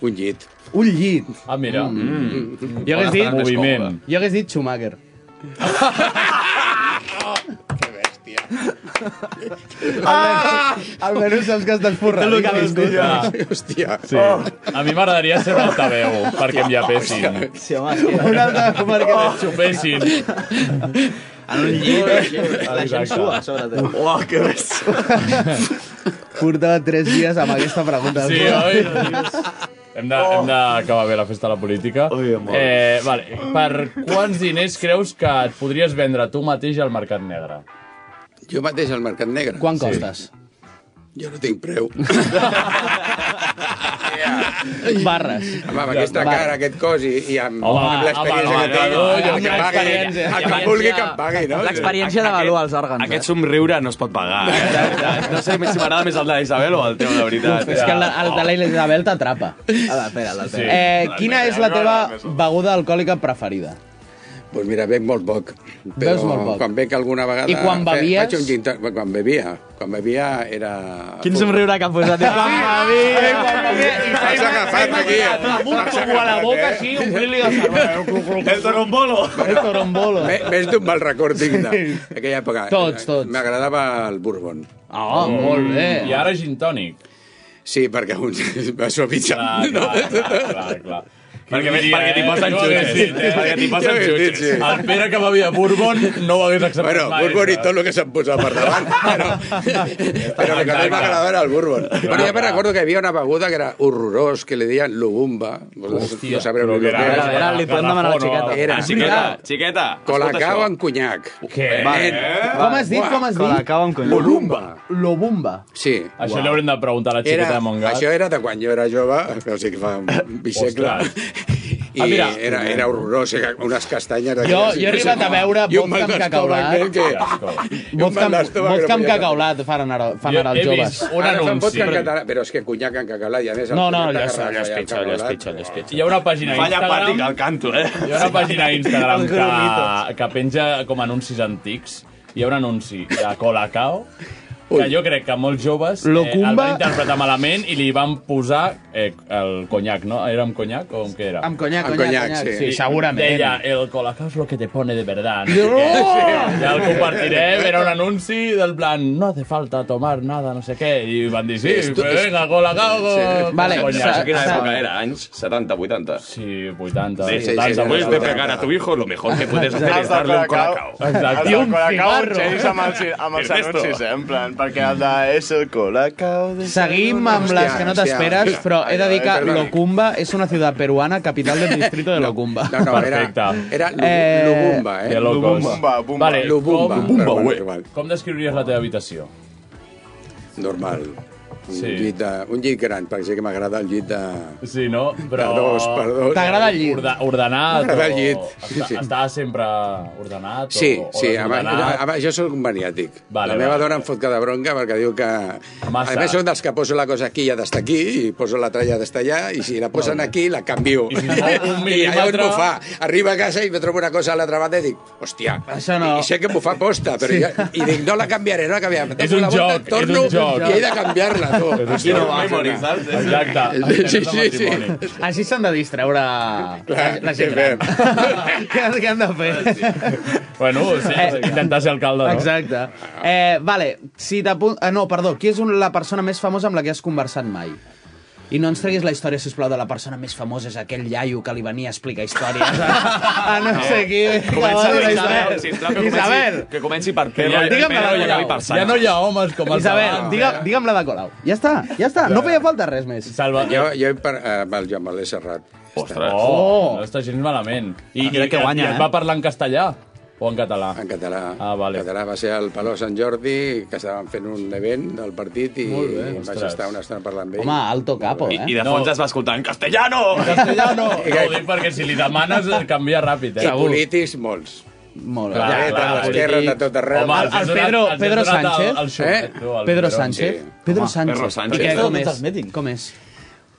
Un llit. Un llit. Ah, mira. Mm. Mm. Jo hagués Bona dit... estarà més Moviment. còmode. Jo hagués dit Schumacher. Ah! Almenys saps que estàs forrat. Hòstia. Sí. A mi m'agradaria ser un altaveu, perquè em llapessin. Sí, home, és que... Un altaveu perquè oh. xupessin. En un llit, la gent sua, sobretot. Uau, que bèstia. Portava tres dies amb aquesta pregunta. Sí, oi? Hem de- hem d'acabar bé la festa de la política. Eh, vale. Per quants diners creus que et podries vendre tu mateix al mercat negre? Jo mateix al Mercat Negre. Quan costes? Jo no tinc preu. Barres. Home, amb aquesta Barres. cara, aquest cos i, i amb, Home, amb l'experiència home, que tinc, home, el que home, pagui, experiència. el que vulgui que em pagui, no? L'experiència d'avaluar els òrgans. eh? Aquest somriure no es pot pagar. Eh? No sé si m'agrada més el de la Isabel o el teu, la veritat. És que el, el de la Isabel t'atrapa. Espera, l'altre. Sí. Eh, quina és la teva beguda alcohòlica preferida? Doncs mira, bec molt poc. Però Beus molt poc. quan bec alguna vegada... I quan fe- bevies? Faig un gin tònic. Quan bevia, quan bevia era... Quin somriure que han posat. Ah, M'has agafat aquí, eh? M'has agafat, eh? Sí, omplir-li el cervell. El torombolo. El torombolo. Me- Més d'un mal record tinc de- d'aquella època. Tots, tots. M'agradava el bourbon. Ah, Mm, molt bé. I ara gin tònic. Sí, perquè un va suavitzar. Ah, Clar, no? clar, clar, clar, clar. Perquè- Diria, perquè t'hi eh? posen Jo ho hagués jutges. dit, eh? Perquè t'hi posen Jo ho hagués dit, jutges. sí. El Pere que bevia Bourbon no eh. ho hagués acceptat Bueno, mai. Bourbon i tot el que se'n posava per davant, però, però el que més m'agradava era el Bourbon. Bueno, jo me'n recordo que hi havia una beguda que era horrorós, que li deien Lubumba. Vosaltres Hòstia, no però sabreu ni el que que era- era. Ara li podem demanar a la xiqueta. Era. Ah, xiqueta, xiqueta. Colacao escolta amb conyac. Què? Nen. Com has dit, com has dit? Colacao amb conyac. Lubumba. Lobumba. Sí. Això li haurem de preguntar a la xiqueta Era, de Montgat. això era de quan jo era jove, o sigui que fa un bisecle. Ostres. I Ah, mira. era, era horrorós, era unes castanyes... Jo, d'aquelles. jo he arribat a veure I vodka un mal amb d'estómac, nen, cacaulat. que... i un Vodka mal amb, d'estómac que no vodka amb podia- cacaulat fan ara, fan Jo ara he els joves. vist un Ara fan anunci. vodka en català, però és que conyac en català i a més... el No, no, conyac ja agarra sé, allà el cacaulat. Hi ha una pàgina a Falla Instagram... pàtic al canto, eh? Hi ha una pàgina a Instagram Els que, grumitos. que penja com anuncis antics. Hi ha un anunci de Colacao que jo crec que molts joves eh, el Locumba. van interpretar malament i li van posar eh, el conyac, no? Era amb conyac o amb què era? Amb conyac, Amb conyac, conyac, conyac. sí. Sí, segurament. Deia, el Colacao és lo que te pone de verdad. No sé No! què. Ja el compartirem, era un anunci del plan no hace falta tomar nada, no sé què. I van dir, sí, Esto- però venga, Colacao, con- Vale, con Però això conyac. quina Sa- època era? Anys 70, 80. Sí, 80. Sí, sí, sí, 80, Después de 80. pegar a tu hijo, lo mejor que puedes hacer Has es de darle un Colacao. colacao. Has Exacte. de un Colacao, cigarro. James, amb els, amb els Ernesto. anuncis, eh? En plan, perquè el de és el colacao... de- Seguim amb les que no t'esperes, hòstia. però he de dir que Ai, ai, perdoni. Locumba és una ciutat peruana, capital del distrito de Locumba. No, no, era, era Lu- Eh, Lubumba, eh? de locos. Lubumba, Bumba. Vale, Lubumba, com, però bueno, ué. igual. com descriuries la teva habitació? Normal. Un, Sí. llit de, un llit gran, perquè sí que m'agrada el llit de... Sí, no? Però... De dos, per dos. T'agrada el llit? Orde, ordenat? M'agrada el o- llit, sí, Està, sí. està sempre ordenat? Sí, o, o sí, a desordenat? més, jo sóc un maniàtic. Vale, la meva vale. dona em fot cada bronca perquè diu que... Massa. A més, sóc dels que poso la cosa aquí i ja d'estar aquí, i poso la tralla d'estar allà, i si la posen aquí, la canvio. I, milímetre- allà on m'ho fa. Arriba a casa i me trobo una cosa a l'altra banda i dic, hòstia, Això no. i, i sé que m'ho fa posta, però Sí. sí. ja, i dic, no la canviaré, no la canviaré. És un la volta, joc, és torno, un joc. I he de canviar-la, tu. És un Així joc. va, Memoritzar, sona. Exacte. Sí, sí, sí. Així s'han de distreure Clar, Clar, la gent què gran. Què què han de fer? Bueno, sí, Eh, intentar ser alcalde, no? Exacte. Eh, vale, si t'apun... Eh, no, perdó, qui és un, la persona més famosa amb la que has conversat mai? I no ens treguis la història, sisplau, de la persona més famosa és aquell iaio que li venia a explicar històries. A, a no, sé qui. Comença Que va dir la per Isabel, història. sisplau, que comenci, Isabel! que comenci per Que Pedro, i ja- per digue'm la Pedro i de acabi Colau. per Sants. Ja no hi ha homes com els Isabel, abans. digue, digue'm la de Colau. Ja està, ja està. No feia falta res més. Salva. Jo, jo per, eh, amb el Joan Manuel Serrat. Ostres. Oh, no està gens malament. I, Ah, Mira que i guanya, et eh? va parlar en castellà o en català? En català. Ah, vale. En català va ser al Palau Sant Jordi, que estàvem fent un event del partit i Molt bé. vaig Ostres. estar una estona parlant amb ell. Home, alto capo, eh? I de fons es va escoltar en castellano! Castellano! No ho dic perquè si li demanes canvia ràpid, eh? I polítics, molts. Molt Clar, Clar, clar, clar, l'esquerra, de tot arreu. Home, els has donat- els has donat el- el xulet, eh? tu, el Pedro Sánchez. Pedro Sánchez. Pedro Sánchez. Perquè Pedro com és? Sánchez. Com és? Doncs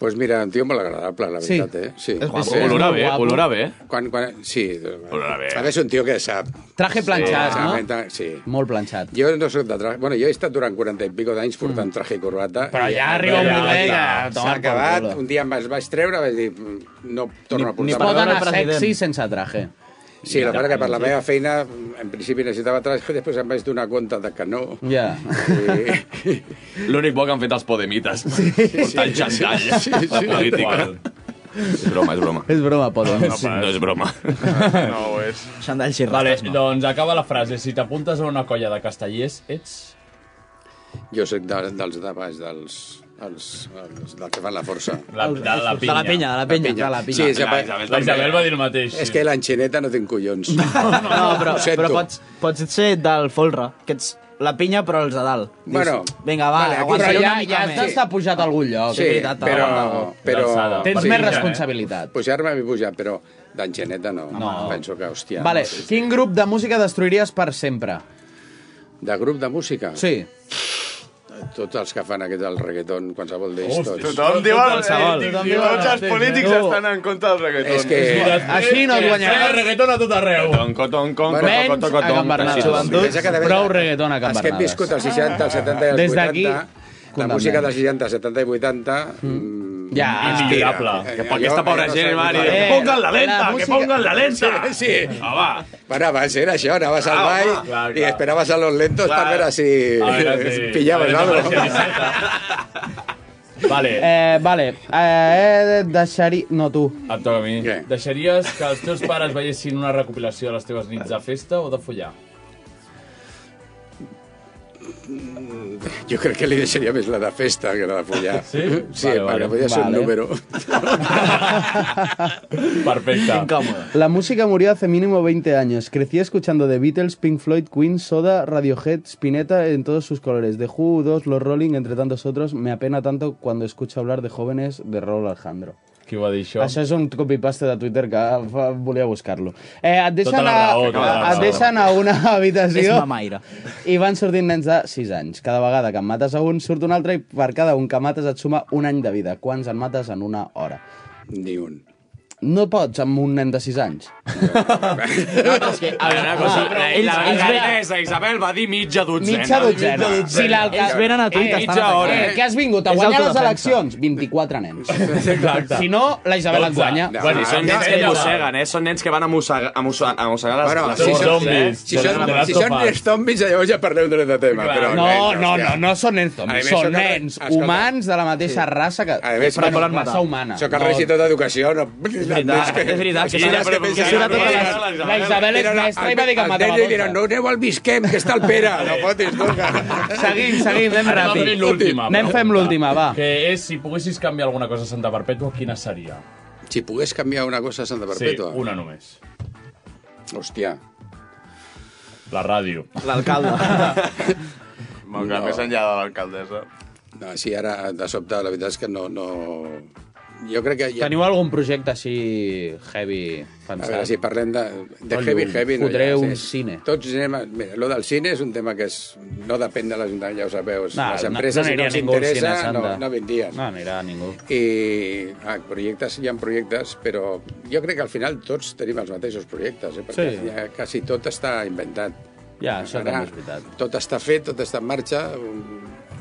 Pues mira, un tio molt agradable, la Sí. veritat, eh? Sí. És guapo, olora bé, Guapo. olora bé. Quan, quan, sí. Olora bé. A més, un tio que sap. Traje planxat, no? no? Sí. Molt planxat. Jo no soc de traje... Bueno, jo he estat durant 40 i pico d'anys portant traje i corbata. Però I- ja arriba un Ja, moment ja, que S'ha toma pel acabat, culo. un dia me'ls vaig treure, vaig dir, "Mm, no torno a portar Ni pot anar sexy sense traje. Sí, la veritat que per la meva feina, en principi necessitava traje, després em vaig donar compte de que no. Ja. L'únic bo que han fet els podemites. Sí, Portant xantall. Sí, sí, la política. És broma, és broma. És broma, Podem. No, no és broma. No ho és. Xandall xirra. Vale, doncs acaba la frase. Si t'apuntes a una colla de castellers, ets... Jo soc de, dels de baix, dels, els, els, dels que fan la força. La, de, la pinya. Sí, és, la, Ah, Isabel, la Isabel va dir el mateix. És que l'enxineta no tinc collons. No, però, Ho sento. però pots, pots ser del folre, que ets la pinya però els de dalt. Dius, Bueno, vinga, va, vale, vale, aquí aguanta però una ja- mica Ja més. has de pujat a algun lloc. Sí, però... però Tens més responsabilitat. Pujar-me m'he pujat, però d'enxineta no. no. Penso que, hòstia... Vale, no sé. quin grup de música destruiries per sempre? De grup de música? Sí. Tots els que fan aquest el reggaeton, qualsevol d'ells, Hòstia, tots. tothom diu... el- eh, Tots els polítics estan en contra del reggaeton. És que- Així no guanyarem. El reggaeton a tot arreu. Tonco, tonco, tonco, Menys tonco, tonco, a Can Bernat. Joventuts, Ah, Pensa que de vegades- prou reggaeton a Can Els que hem Bernades. viscut els 60, els 70 i els Des 80... d'aquí, la condemnem. música dels 60, 70 i 80... Mm. eh, Ja. Millorable. Que per aquesta pobra gent, Mari. Que pongan Eh, la lenta, que pongan la lenta. Sí, sí. Ah, va. Bueno, abans era això, anaves al Ah, ball home. Clar, i clar. esperaves a los lentos per veure si Ah, A veure si- pillaves a veure alguna si cosa. Vale, Eh, vale, eh, deixaria... No, tu. et toca a mi. Deixaries que els teus pares veiessin una recopilació de les teves nits de festa o de follar? Jo crec que li deixaria més la de festa que la de follar. Sí? Sí, Vale, vale, vale. perquè podia ser Vale. un número. Perfecte. La música murió hace mínimo 20 años. Crecí escuchando The Beatles, Pink Floyd, Queen, Soda, Radiohead, Spinetta en todos sus colores. The Who, Dos, Los Rolling, entre tantos otros. Me apena tanto cuando escucho hablar de jóvenes de Raúl Alejandro. Qui ho va dir això? Això, és un copy-paste de Twitter que fa- volia buscar-lo. Eh, et deixen, Tota la raó, a, tota la raó. et deixen a una habitació És mamaire. i van sortint nens de 6 anys. Cada vegada que en mates a un, surt un altre i per cada un que mates et suma un any de vida. Quants en mates en una hora? Ni un. No pots amb un nen de 6 anys. Eh, A veure, una Ah, cosa. La, la, la, Inés, la Isabel va dir mitja dotzena. Mitja dotzena. Si l'alca- Ells venen a tu i Eh, t'estan mitja hora. atacant. Eh, que has vingut a És guanyar les autodefensa. eleccions? 24 nens. Exacte. Si no, la Isabel et Dotze. guanya. No. Bueno, i són nens que Ja, ja, ja. mosseguen, eh? Són nens que van a mossegar, a mossegar, a mossegar les, Bueno, les si portes, eh? són zombies, Si són, si són nens zombis, llavors ja parleu d'un altre tema. Clar. Però, No, nens, no, hòstia. no, no són nens A zombies, més, són sóc el- nens escolta. humans de la mateixa raça que... A més, però sóc el- raça humana. Sóc el regidor d'educació, tota no... És veritat, és veritat, que són sí, les però que com que pensen surt posar totes les... tota La Isabel és mestra i va dir que em matava tots. Diran, no aneu al Bisquem, que està el Pere. No fotis, tu. que- Seguim, seguim, Anem anem ràpid. fent l'última. Anem fem l'última, va. Que és, si poguessis canviar alguna cosa a Santa Perpètua, quina seria? Si pogués canviar una cosa a Santa Perpètua. Sí, una només. Hòstia. La ràdio. L'alcalde. No. Molt no. més enllà de l'alcaldessa. No, sí, ara, de sobte, la veritat és que no... no... Jo crec que... Ja... Teniu algun projecte així heavy A pensat? veure, si parlem de, de Molt heavy, lluny. heavy... No, Fotré un sí. cine. Tots anem... A... Mira, lo del cine és un tema que és... no depèn de l'Ajuntament, ja ho sabeu. No, les no- empreses, no si aniria no els ningú al cine, interessa, no, Sandra. no vindrien. No anirà ningú. I ah, projectes, hi ha projectes, però jo crec que al final tots tenim els mateixos projectes, eh? perquè Sí. sí. ja quasi tot està inventat. Ja, això Ara, Ah, també és veritat. Tot està fet, tot està en marxa... Un...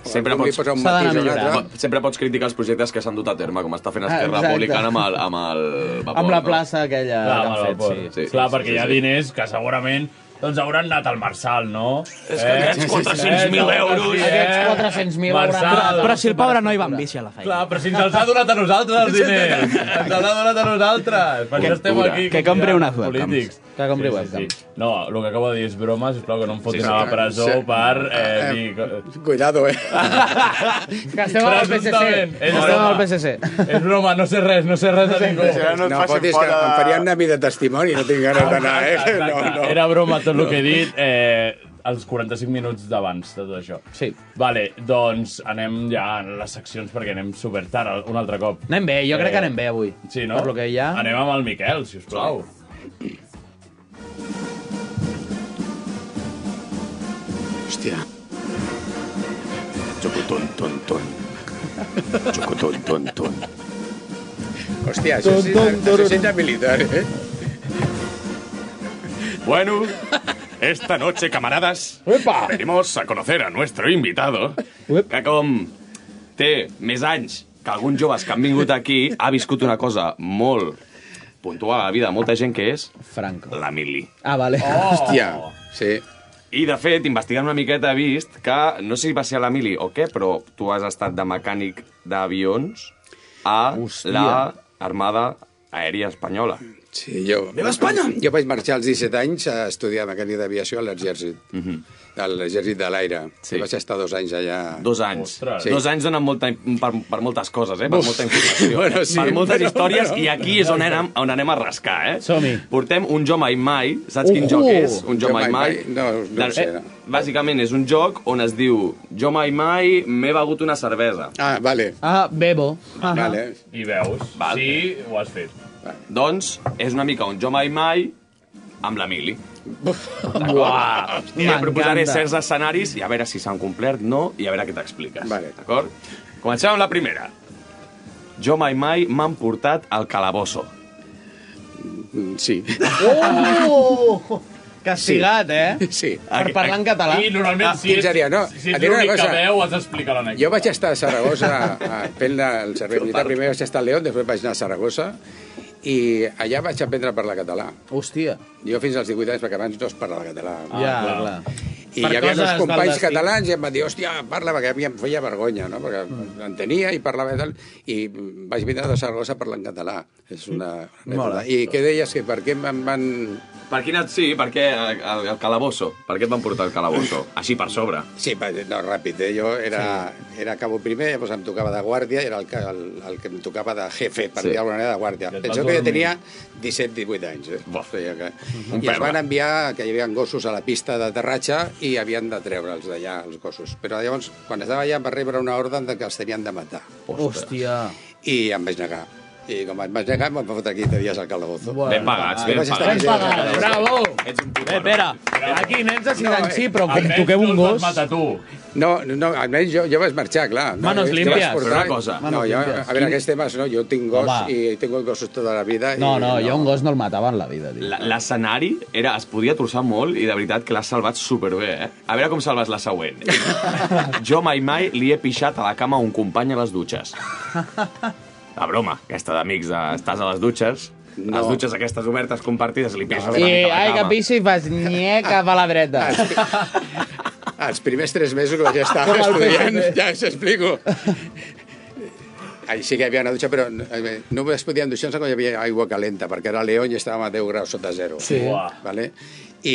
Sempre algú li pots- posa un s'ha d'anar matís o un altre. Bo- Sempre pots criticar els projectes que s'han dut a terme, com està fent Esquerra Ah, exacte. Republicana amb el, amb el vapor. Amb la no? plaça aquella Clar, Ah, que amb el han vapor. fet, sí. Sí, Clar, sí, perquè sí, hi ha sí. diners que segurament doncs hauran anat al Marçal, no? Eh? És que aquests 400.000 euros. eh? Aquests 400.000 hauran Marçal. donat. Eh, Però si el pobre noi va amb bici a la feina. Clar, però si ens els ha donat a nosaltres els diners. Ens els ha donat a nosaltres. Per Que- això estem aquí. que compri unes webcams. polítics. Que compri Sí. No, el que acabo de dir és broma, sisplau, que no em fotin Sí, sí. a la presó Sí. per... Eh, Eh, dir... Cuidado, eh? Que estem amb el PSC. Presumptament. És Estem amb el broma. PSC. És broma, no sé res, no sé res de ningú. no fotis, que em faria anar a mi de testimoni, no tinc ganes d'anar, eh? No, no. Era broma tot el que he dit. Eh, els 45 minuts d'abans de tot això. Sí. Vale, doncs anem ja a les seccions perquè anem super tard un altre cop. Anem bé, jo Eh, crec que anem bé avui. Sí, no? Per lo que hi ha. Anem amb el Miquel, si us plau. Hòstia. Xocotón, ton, ton. Xocotón, ton, ton. Hòstia, això sí, això sí és militar, eh? Oh. Bueno, esta noche, camaradas, venimos a conocer a nuestro invitado, que com té més anys que alguns joves que han vingut aquí, ha viscut una cosa molt puntual a la vida de molta gent, que és Franco. la mili. Ah, vale. Oh. Hòstia, sí. I, de fet, investigant una miqueta, he vist que, no sé si va ser a la mili o què, però tu has estat de mecànic d'avions a Hòstia. la Armada Aèria Espanyola. Sí, jo... Viva Espanya! Jo vaig marxar als 17 anys a estudiar mecànica d'aviació a l'exèrcit, mm Mhm. -hmm. a l'exèrcit de l'aire. Sí. Vaig estar dos anys allà. Dos anys. Ostres. Sí. Dos anys donen molta, per, per moltes coses, eh? per Uf. molta informació, Bueno, sí, per moltes bueno, històries, bueno. i aquí és on anem, on anem a rascar. Eh? Som-hi. Uh, Portem un Jo Mai Mai, saps quin Ujú. joc és? Un Jo Mai Mai. No, no ho sé. Eh, Bàsicament és un joc on es diu Jo Mai Mai m'he begut una cervesa. Ah, vale. Ah, bebo. Ah, I veus Val. si ho has fet. Doncs és una mica un Jo Mai Mai amb la Mili. D'acord? Hòstia, M'encanta. proposaré certs escenaris i a veure si s'han complert, no, i a veure què t'expliques. Vale. D'acord? Comencem amb la primera. Jo mai mai m'han portat al calabosso. Mm, Sí. Oh! Castigat, eh? Sí. Per parlar en català. Ah, I normalment, si ets, Quinzeria, no. si Et ets diré una l'únic que cosa. veu, has d'explicar l'anècdota. Jo vaig estar a Saragossa a, fent la- el servei militar. Primer vaig estar a León, després vaig anar a Saragossa i allà vaig aprendre a parlar català. Hòstia. Jo fins als 18 anys, perquè abans no es parlava català. Ah, Ja, clar. I Per hi havia coses dos del companys destí. catalans i em van dir, hòstia, parla, perquè a mi em feia vergonya, no? perquè mm. entenia i parlava i tal, i vaig vindre de Saragossa parlant català. És una... Mola. anècdota. I què deies? Que per què em van... Per quina... Sí, per què el, el calabosso? Per què et van portar al calabosso? Així per sobre. Sí, va- no, ràpid, eh? jo era, sí. era cabo primer, llavors em tocava de guàrdia, era el, que- el, el que em tocava de jefe, per Sí. sí. dir alguna manera, de guàrdia. et Penseu vas que jo dormir. tenia 17-18 anys. Eh? O sigui que... Un I ens pebre. van enviar, que hi havia gossos a la pista d'aterratge i havien de treure'ls d'allà, els gossos. Però llavors, quan estava allà, va rebre una ordre de que els tenien de matar. Hòstia. I em vaig negar. I com em vaig negar, em van fotre 15 dies al calabozo. Bueno. Ben Ah, pagats, ben I vaig estar pagats. 15 dies al Ben pagats, calabozo. bravo. Ets un Eh, espera. Aquí, nens de 6 No, anys, eh. sí, però com Almenys toqueu un no els gos... vas matar tu. No, no, almenys jo, jo vaig marxar, clar. No, Manos jo- jo limpias. vaig portar- Però una cosa. No, Manos jo, limpias. a veure, Quin- aquests temes, no, jo tinc gos Home. i tinc gossos tota la vida. No, i, no, jo un gos no el matava en la vida, tio. La- L'escenari era, es podia torçar molt i de veritat que l'has salvat superbé, eh? A veure com salves la següent. jo mai mai li he pixat a la cama a un company a les dutxes. La broma, aquesta d'amics, de, estàs a les dutxes, no. les dutxes aquestes obertes compartides, li pixes una I, mica a ai, la que cama. pixi i fas nye cap a la dreta. Ah, Els primers tres mesos que vaig estar Com el estudiant, PSC. ja us explico. ahí sí que hi havia una dutxa, però eh, no es podien dutxar-se quan hi havia aigua calenta, perquè era a León i estàvem a 10 graus sota zero. Sí. Uah. Vale? I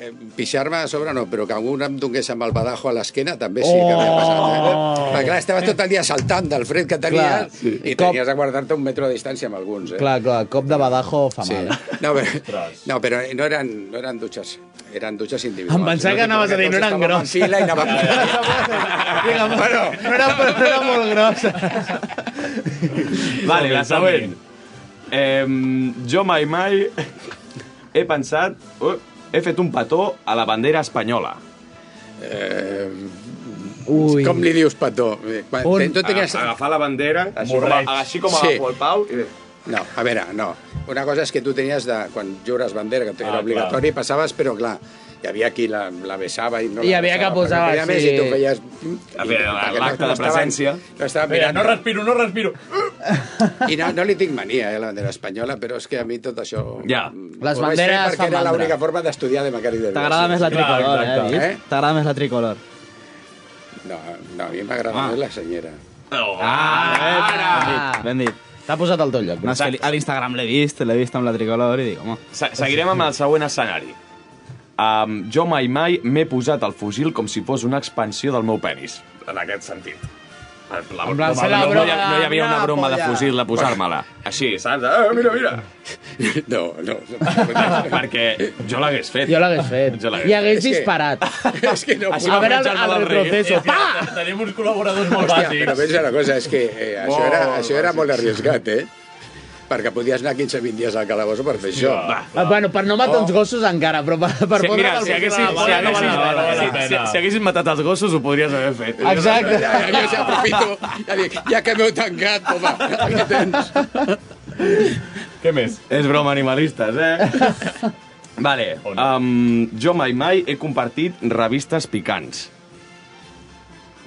eh, pixar-me a sobre no, però que algú em donés amb el badajo a l'esquena també sí que m'ha passat. Eh? Perquè clar, estaves tot el dia saltant del fred que Clar, tenies sí. i tenies de guardar-te un metro de distància amb alguns. Eh? Clar, clar, cop de badajo fa Sí. mal. eh? No, però, no, però no eren, no eren dutxes, eren dutxes individuals. Em pensava que anaves a dir, no eren grosses. Sí, la i anàvem... Digue'm, no era, no era molt grossa. Vale, la següent. Eh, jo mai mai he pensat... Uh, he fet un petó a la bandera espanyola. Eh, Ui. Com li dius petó? Quan, Un- tu tenies... A- agafar la bandera, així com- Morreig. així com agafo el pau... No, a veure, no. Una cosa és que tu tenies de... Quan jures bandera, que era Ah, clar. obligatori, passaves, però clar, hi havia qui la, la besava i no Hi la havia besava, que posava, perquè feia més sí. I tu feies... A veure, perquè l'acte de estaven- presència. No estava Mira, mirant... no respiro, no respiro. I no, no li tinc mania, eh, a la bandera espanyola, però és que a mi tot això... Ja. Les banderes perquè fan era mandra. l'única forma d'estudiar de Macari de T'agrada més la tricolor, eh? has vist? T'agrada més la tricolor. No, no, a mi m'agrada Ah. més la senyera. Oh, ah, ara! Ben dit. T'ha posat al tot lloc. No, és que li- a l'Instagram l'he vist, l'he vist amb la tricolor i dic, home... Se seguirem amb el següent escenari. Um, jo mai mai m'he posat el fusil com si fos una expansió del meu penis. En aquest sentit. La, la, plan, no, fer la no, broma hi ha- no hi havia una de broma de Ah, polla. fusil de posar-me-la. Així, saps? Eh, mira, mira. No, no. Perquè Eh, jo l'hagués fet. Jo l'hagués fet. Jo l'hagués I hagués fet. disparat. És que no A veure el, el retroceso. Pa! Tenim uns col·laboradors molt Hòstia, bàsics. però pensa una cosa, és que eh, això, Molt era, això era bàsics. molt arriscat, eh? Perquè podies anar 15-20 dies al calaboso per fer això. Va, va. Ah, Bueno, per no matar els gossos encara, però per, per Sí, sí, mira, si haguessis, si, haguessis, si, si, si haguessis matat els gossos, ho podries haver fet. Exacte. Ja, ja, ja, aprofito, ja, dic, ja que m'heu tancat, home, aquí tens. Què més? És broma animalistes, eh? vale. Um, jo mai mai he compartit revistes picants.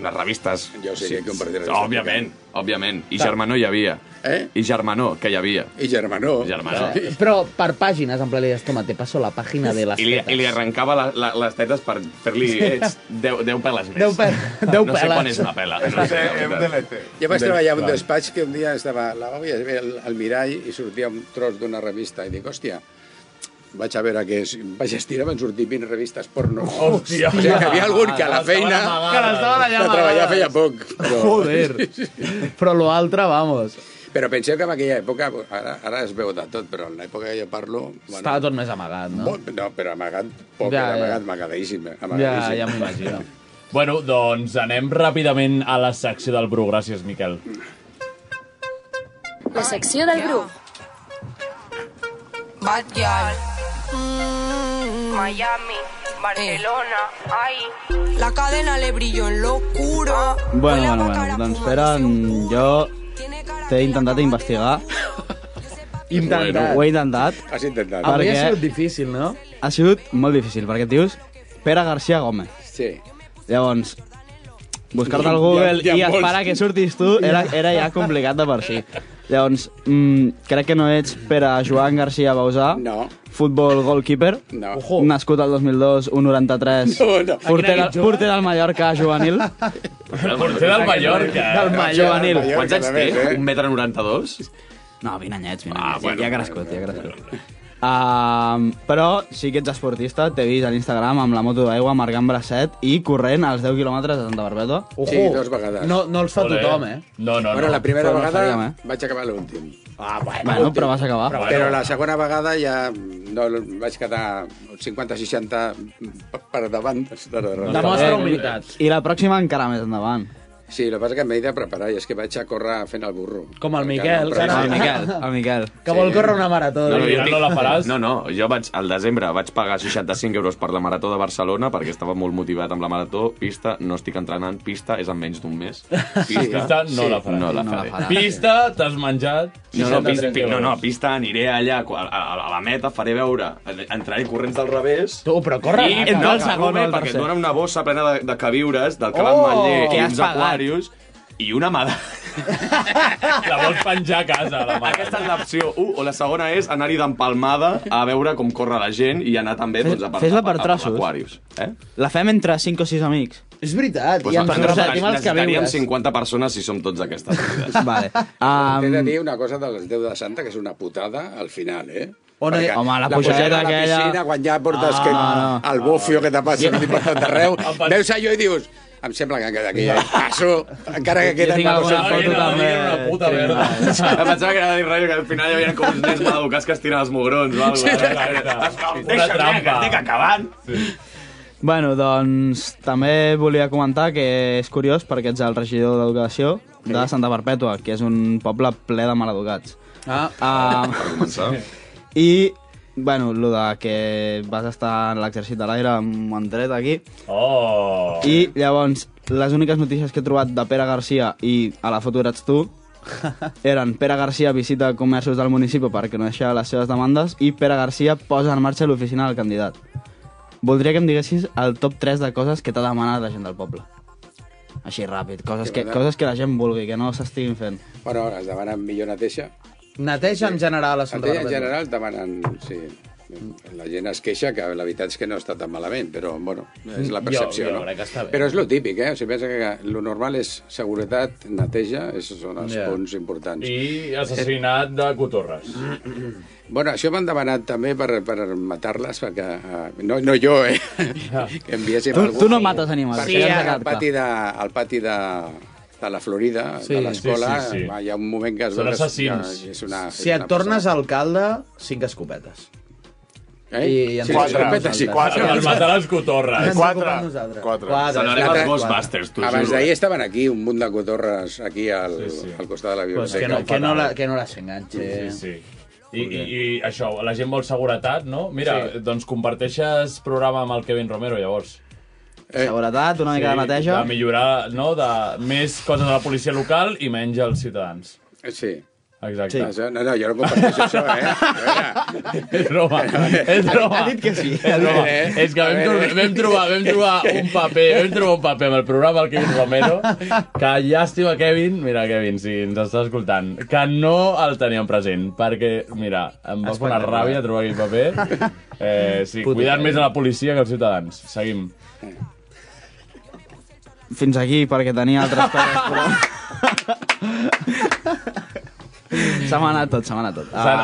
Les revistes... Jo sí que he compartit revistes Òbviament, òbviament. I Clar. Germanó hi havia. Eh? I Germanó, que hi havia. I Germanó. Germanó. Però per pàgines, en plan, li dius, toma, te passo la pàgina de les I li, tetes. I li arrencava la, la, les tetes per fer-li... Sí. Ets 10, 10 peles més. Deu pel- deu no sé peles. quan és una pela. No sé, Jo vaig treballar a un despatx que un dia estava a la òbvia, al, al mirall i sortia un tros d'una revista i dic, hòstia, vaig a veure què és. Vaig estirar, van sortir 20 revistes porno. Hòstia. O sigui, que hi havia algun que a la Que feina... l'estaven amagant. Oh, Que l'estaven allà De treballar amagant. feia poc. Però... Joder. Però lo altre, vamos. Però penseu que en aquella època, ara, ara es veu de tot, però en l'època que jo parlo... Bueno, Estava tot més amagat, no? Molt, no, però amagat Ja, poc, ja, ja. amagat, amagadíssim. eh? Ja, amagadíssim. ja m'imagino. Bueno, doncs anem ràpidament a la secció del Bru. Gràcies, Miquel. La secció del grup. Bad Girl. Mm. Miami, Barcelona, ay. Eh. La cadena le brilló en lo oscuro. Bueno, bueno, bueno, doncs Pere, mm, jo t'he intentat investigar. Intentat. Ho he intentat. Has intentat. Avui ha Perquè- sigut difícil, no? Ha sigut molt difícil, perquè et dius Pere García Gómez. Sí. Llavors, buscar-te al Hi ha- Google hi ha i molts. esperar que surtis tu era, era ja complicat de per si. Llavors, mm, crec que no ets Pere Joan García Bausà, no. futbol goalkeeper, No. nascut al 2002, un 93, No, no. Porter, A quin equip juga? porter del Mallorca juvenil. Porter del Mallorca. eh? Del Mallorca. Quants anys té? Eh? Un metre 92? No, 20 anyets, 20 Ah, anyets. bueno, ja ha crescut, ja ha crescut. Um, però sí que ets esportista, t'he vist a l'Instagram amb la moto d'aigua, marcant bracet i corrent als 10 quilòmetres de Santa Barbeta. Sí, dos vegades. No, no els fa Ole. tothom, eh? No, no, bueno, la primera Però no vegada sabíem, vaig acabar l'últim. Ah, bueno, Bueno, però vas acabar. Però, Però la segona vegada ja no, vaig quedar 50-60 per davant. tota Eh, I la pròxima encara més endavant. Sí, el que passa que m'he de preparar i és que vaig a córrer fent el burro. Com el Miquel, que ara- El Miquel, el Miquel. Que vol córrer una marató. jo eh? tinc- No, no, jo vaig, al desembre vaig pagar 65 euros per la marató de Barcelona perquè estava molt motivat amb la marató. Pista, no estic entrenant. Pista és en menys d'un mes. Pista, Pista no la faràs. No la No la faré. faràs. Pista, t'has menjat... No, no, pista, 63 pi- no, euros. no, pista, aniré allà, a, a, a la meta, faré veure, entraré corrents del revés... Oh, Tu, però corre I, ràpid. no, Entra el segon o el perquè et tercer. donen una bossa plena de, de queviures del que va en Oh! Matller Que i has uns pagat. aquarius i una medalla. La vols penjar a casa, la mare. Aquesta és l'opció 1, o la segona és anar-hi d'empalmada a veure com corre la gent i anar també doncs, a per, Fes-la a- per a- a- trossos. aquarius. Eh? La fem entre 5 o 6 amics. És veritat, Pues i ens repartim els necessitaríem queviures. 50 persones si som tots d'aquesta vida. Vale. Um... He de Um, dir una cosa de les 10 de Santa, que és una putada al final, eh? On Perquè he- home, la pujada pujadeta a la aquella- piscina, quan ja portes Ah, que, no. el bufio que te passa no. per tot arreu, Apa. veus allò i dius, em sembla que queda aquí, ja hi passo, encara que Jo queden tinc dos alguna foto també. puta merda. Em pensava que era dir rotllo, que al final hi havia com uns nens maleducats que es tiren els mugrons o alguna cosa. Sí, Deixa'm, ja, que estic acabant. Bueno, doncs també volia comentar que és curiós perquè ets el regidor d'Educació de Santa Perpètua, que és un poble ple de maleducats. Ah, Per començar. I, bueno, el de que vas estar en l'exèrcit de l'aire amb en dret aquí. Oh! I llavors, les úniques notícies que he trobat de Pere Garcia i a la foto eres tu, eren Pere Garcia visita comerços del municipi per conèixer les seves demandes i Pere Garcia posa en marxa l'oficina del candidat. Voldria que em diguessis el top 3 de coses que t'ha demanat la gent del poble. Així ràpid, coses que, coses que la gent vulgui, que no s'estiguin fent. Bueno, es demanen millor neteja. Neteja en general a Santa Santa en Barbeta. general demanen, sí. La gent es queixa que la veritat és que no està tan malament, però bueno, és la Jo- percepció, jo no? crec que està bé. Però és lo típic, eh? O sigui, pensa que lo normal és seguretat, neteja, esos són els Ja. punts importants. I assassinat de cotorres. Bueno, això m'han demanat també per, per matar-les, perquè... eh, no, no jo, eh? que enviéssim Tu- algú. tu no mates animals, Perquè sí, sí, ja al quedat pati de... Al pati de de la Florida, Sí, de l'escola, sí, sí, sí. va, hi ha un moment que... es Són veu que- assassins. que És una, és Si et una tornes alcalde, cinc escopetes. Eh? I ens Sí, preocupem quatre, sí, nosaltres. quatre. Per matar les cotorres. Ens Quatre. preocupem nosaltres. Quatre. Quatre. Salvarem Quatre. els Ghostbusters, t'ho Abans juro, d'ahir eh? estaven aquí, un munt de cotorres, aquí al, al costat de la Pues biblioteca. que no, que no, la, que no les enganxe. Sí, sí. I, i, I això, la gent vol seguretat, no? Mira, sí. doncs comparteixes programa amb el Kevin Romero, llavors. Eh. Seguretat, una mica de neteja. De millorar, no?, de més coses de la policia local i menys als ciutadans. Sí. Exacte. Sí. Això, no, no, jo no comparteixo això, eh? És broma, és broma. Ha dit que sí. És, broma. Eh? és que vam, A veure. tro- vam, trobar, vam trobar un paper, vam trobar un paper amb el programa del Kevin Romero, que llàstima, Kevin, mira, Kevin, si ens estàs escoltant, que no el teníem present, perquè, mira, em va fer una Espectacular. ràbia trobar aquell paper. Eh, sí, Puto cuidar Kevin. més a la policia que als ciutadans. Seguim. Fins aquí, perquè tenia altres coses, però... Se m'ha anat tot, se m'ha anat tot. Ah, Se n'ha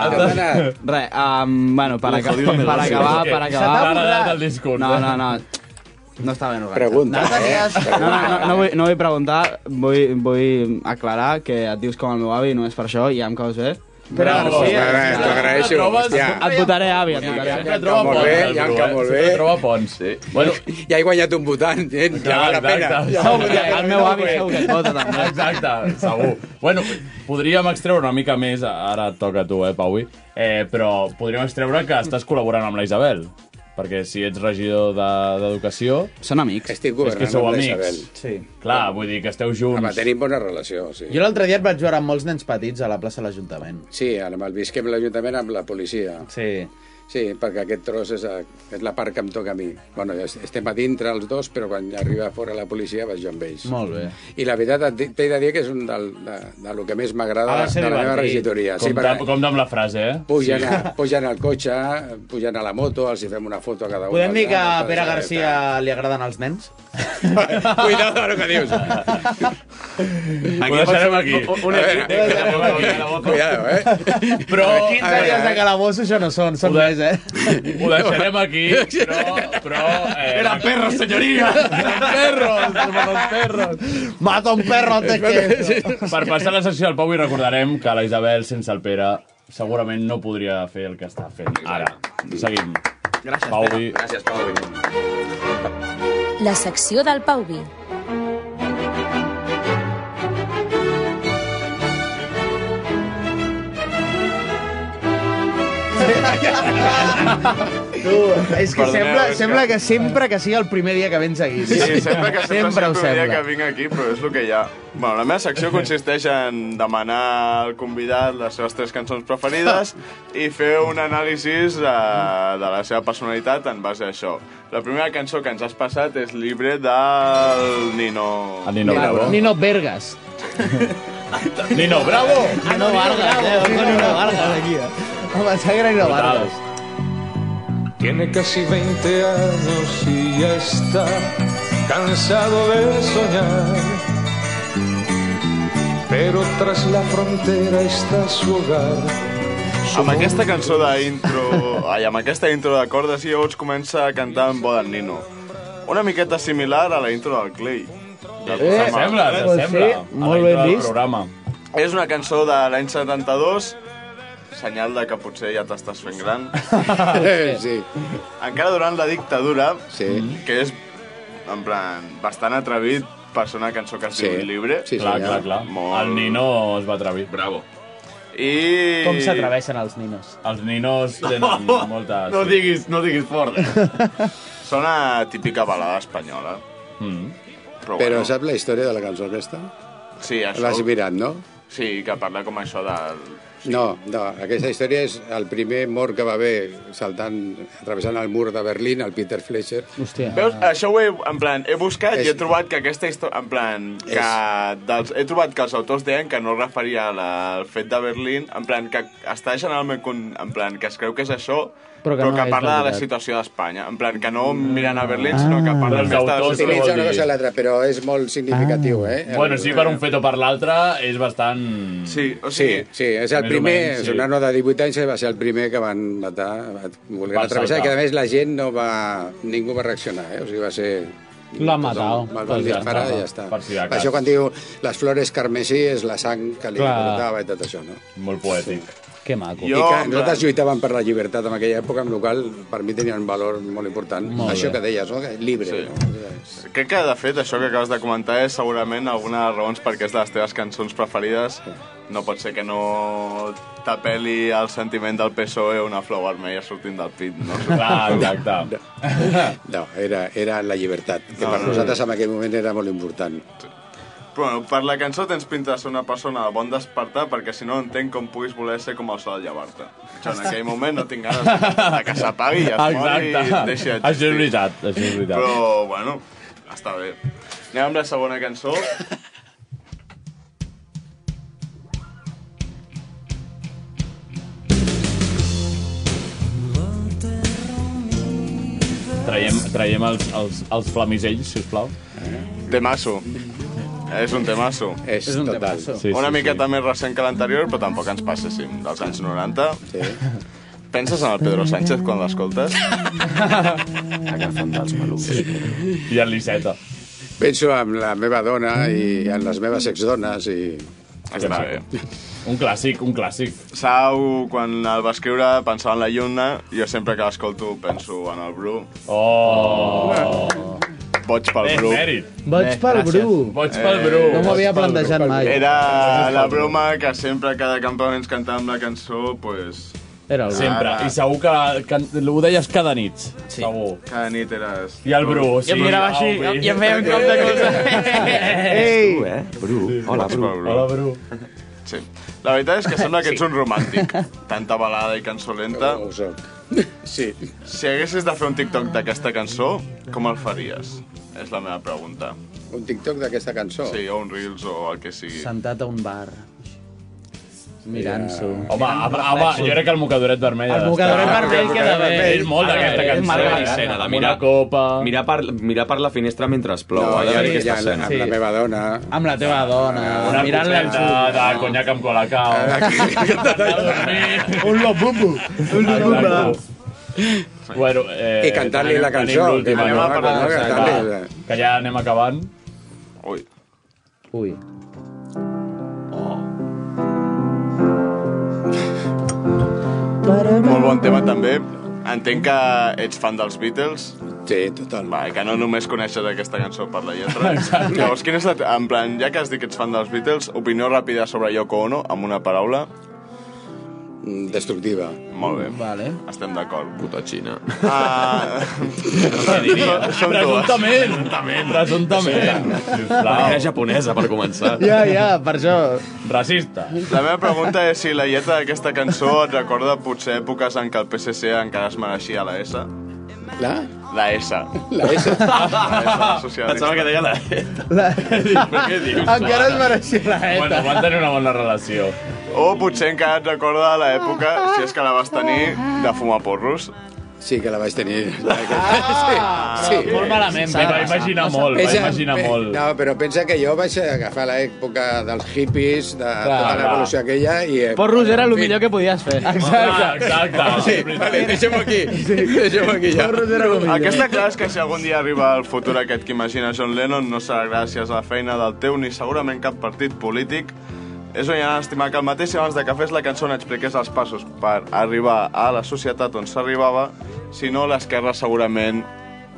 anat tot. Res, um, bueno, per, Lo aca jodido de per los acabar, dos. per Se acabar... t'ha borrat el discurs. eh? No, no, no. No està ben organitzat. Pregunta, no, eh? No, no, no, no, vull, no vull preguntar, vull, vull aclarar que et dius com el meu avi, només per això, i ja em caus bé. Bravo, sí, eh, sí, t'agraeixo, et trobes- hòstia. Et votaré avi, et votaré Sempre troba molt bé, ja em cau molt bé. troba ponts. Sí. Bueno, ja he guanyat un votant, gent, que val la pena. Ja val la pena. Exacte, segur. Bueno, podríem extreure una mica més, ara et toca a tu, eh, Paui, eh, però podríem extreure que estàs col·laborant amb la Isabel, perquè si ets regidor de- d'Educació... De, Són amics. Estic És que governant sou amb la amics. Isabel. Sí. Clar, vull dir que esteu junts. Home, tenim bona relació, sí. Jo l'altre dia et vaig veure amb molts nens petits a la plaça de l'Ajuntament. Sí, ara el visquem l'Ajuntament amb la policia. Sí. Sí, perquè aquest tros és, a, és la part que em toca a mi. Bueno, ja es- estem a dintre els dos, però quan arriba fora la policia vaig jo amb ells. Molt bé. I la veritat, et di- t'he de dir que és un del, de, de lo que més m'agrada Ha de, de la meva regidoria. Com, perquè tam- com amb la frase, eh? pugen, a, pugen al cotxe, pugen a la moto, els hi fem una foto a cada un. Podem dir que a Altres, Pere eh, Garcia li agraden els nens? Cuidado amb el que dius. Aquí ho deixarem aquí. Una Cuidado, eh? Però... 15 dies de calabosso això no són, són més, eh? Ho deixarem aquí, però... però eh, Era perro, senyoria! Perros, hermanos perros. Mata un perro antes que... Per passar a la secció del Pau i recordarem que la Isabel sense el Pere segurament no podria fer el que està fent ara. Seguim. Gràcies, Pau. Pere. Gràcies, Pau. La secció del Pauvi. Tu, és que Perdoneu, sembla, és que- sembla que sempre que sigui el primer dia que vens aquí. Sí, sí, sempre que sempre, sempre sempre ho el dia que sembla. vinc aquí, però és el que hi ha. Bueno, la meva secció consisteix en demanar al convidat les seves tres cançons preferides i fer un anàlisi eh, de la seva personalitat en base a això. La primera cançó que ens has passat és Libre del Nino... El Nino Bravo. Nino Vergas. Nino Bravo! Nino Vargas, eh, Nino Vargas aquí. Home, s'ha gran Total. Vargas. Tiene casi 20 años y ya está cansado de soñar. Pero tras la frontera está su hogar. su Amb aquesta mundo. cançó d'intro... Ai, amb aquesta intro de cordes i llavors comença a cantar en Bodan Nino. Una miqueta similar a la intro del Clay. Del Eh, programa. sembla, pues sembla. sí, A la molt intro ben del vist. programa. És una cançó de l'any 72, senyal de que potser ja t'estàs fent gran. sí. Encara durant la dictadura, sí. que és en plan, bastant atrevit per ser una cançó que es Sí. diu Libre. Sí, Clar, senyor. clar, clar. El Nino es va atrevir. Bravo. I... Com s'atreveixen els ninos? Els ninos tenen moltes... No diguis, no diguis fort. eh? Sona típica balada espanyola. Mm. Però, Però bueno, saps la història de la cançó aquesta? sí, això... L'has mirat, no? Sí, que parla com això del... No, no, aquesta història és el primer mort que va haver saltant, travessant el mur de Berlín, el Peter Fleischer. Hòstia. Veus, això ho he, en plan, he buscat és... i he trobat que aquesta història, en plan, que dels, he trobat que els autors deien que no es referia a la- al fet de Berlín, en plan, que està generalment, con- en plan, que es creu que és això, Però però que que, no és parla de la veritat. situació d'Espanya. En plan, que no miren a Berlín, sinó que parla més de la Utilitza una cosa a situació. l'altra, però és molt significatiu, eh? Ah. Bueno, sí, per un fet o per l'altre és bastant... Sí, o sigui... Sí, sí és el Més o primer, menys, és sí. un nano de 18 anys, va ser el primer que van matar, volent Van travessar, saltar. que a més la gent no va... ningú va reaccionar, eh? O sigui, va ser... L'ha Tothom, matat. El van disparar i ja està. doncs Per si de Per cas. això quan diu les flores carmesí és la sang que li Clar. portava i tot això, no? Molt poètic. Que maco. I que nosaltres lluitaven per la llibertat en aquella època, amb la qual cosa, per mi tenia un valor molt important. Molt Això bé. que deies, no? Que Libre. Sí. No? Crec que, de fet, això que acabes de comentar és segurament alguna de les raons perquè és de les teves cançons preferides. No pot ser que no t'apeli el sentiment del PSOE E una flor vermella sortint del pit, no? exacte. No, era, era la llibertat, que No, per no, nosaltres no. en aquell moment era molt important. Però bueno, per la cançó tens pinta de ser una persona de bon despertar perquè si no entenc com puguis voler ser com el sol de llevar-te. Jo en aquell moment no tinc ganes de, de que s'apagui i es mori i Exacte. et deixi Això és existir. veritat, això és veritat. Però, bueno, està bé. Anem amb la segona cançó. Traiem, traiem els, els, els flamisells, sisplau. Temasso. És un temasso. És, És un total. temasso. Sí, Sí, Una sí, sí, miqueta sí. més recent que l'anterior, però tampoc ens passéssim dels anys 90. Sí. Penses en el Pedro Sánchez quan l'escoltes? Agafant dels malucs. Sí. I en Liseta. Penso en la meva dona i en les meves exdones i... Està bé. Un clàssic, un clàssic. Sau, quan el va escriure, pensava en la lluna. Jo sempre que l'escolto penso en el Bru. Oh! Boig pel Bé, Bru. mèrit. Boig Bé, pel gràcies. Bru. Boig pel Bru. No m'ho havia plantejat Boig pel Bru. Eh, mai. Era Boig la pel Bru. broma que sempre cada campament cantàvem la cançó, pues... Era el Bru. Sempre. I segur que, que ho deies cada nit. Sí. Segur. Cada nit eres... I el Bru, sí. Ah, obvi. Ei! eh. Tu, eh? Bru. Hola, Bru. Hola, Bru. Sí. La veritat és que sembla que ets un romàntic. Tanta balada i cançó lenta. No, ho soc. Sí. Si haguessis de fer un TikTok d'aquesta cançó, com el faries? És la meva pregunta. Un TikTok d'aquesta cançó? Sí, o un Reels o el que sigui. Sentat a un bar. Mirant-s'ho. Home, home, home, jo crec que el mocadoret vermell... ha El d'estar. mocadoret vermell queda bé. Ah, És molt Ah, d'aquesta És cançó. eh? marca l'escena, de mirar, copa... mirar, per, mirar per la finestra mentre es plou. No, ha d'haver ja, aquesta ja, escena. amb la meva dona... Amb la teva dona. Una mirant-la als copeta ulls. de conyac amb colacao. Un lobumbo. Un lobumbo. Bueno, eh, I cantar-li la tenim cançó, l'última, que anem a parlar, Va, cantar-li va, la- Que ja anem acabant. Ui. Ui. Molt bon tema, també. Entenc que ets fan dels Beatles. Sí, total. Va, que no només coneixes aquesta cançó per la lletra. Llavors, quina és la... te- En plan, ja que has dit que ets fan dels Beatles, opinió ràpida sobre Yoko Ono, amb una paraula. Destructiva. Molt bé. Vale. Estem d'acord. Puta Xina. Ah, Què diria? Són dues. Presumptament. Presumptament. Sisplau. Era japonesa, per començar. Ja, ja, per això... Racista. La meva pregunta és si la lletra d'aquesta cançó et recorda potser èpoques en què el PSC encara es mereixia la S. La? La S. La S. Pensava que deia la E. La... Per què dius? Encara es mereixia la ETA. Bueno, van tenir una bona relació. O potser encara et recorda l'època, si és que la vas tenir, de fumar porros. Sí, que la vaig tenir. Ah! sí. Molt malament. Me va imaginar molt, va imaginar pe- molt. Ah, No, però pensa que jo vaig agafar l'època dels hippies, de tota clar. la revolució aquella, i... eh, Porros era el en fi, millor que podies fer. Exacte. Exacte. Sí, vale, deixem aquí. Sí. Deixem aquí ja. Aquesta clar és que si algun dia arriba el futur aquest que imagina John Lennon no serà gràcies a la feina del teu ni segurament cap partit polític. És on hi ha d'estimar que el mateix si abans de que fes la cançó no expliqués els passos per arribar a la societat on s'arribava, si no l'esquerra segurament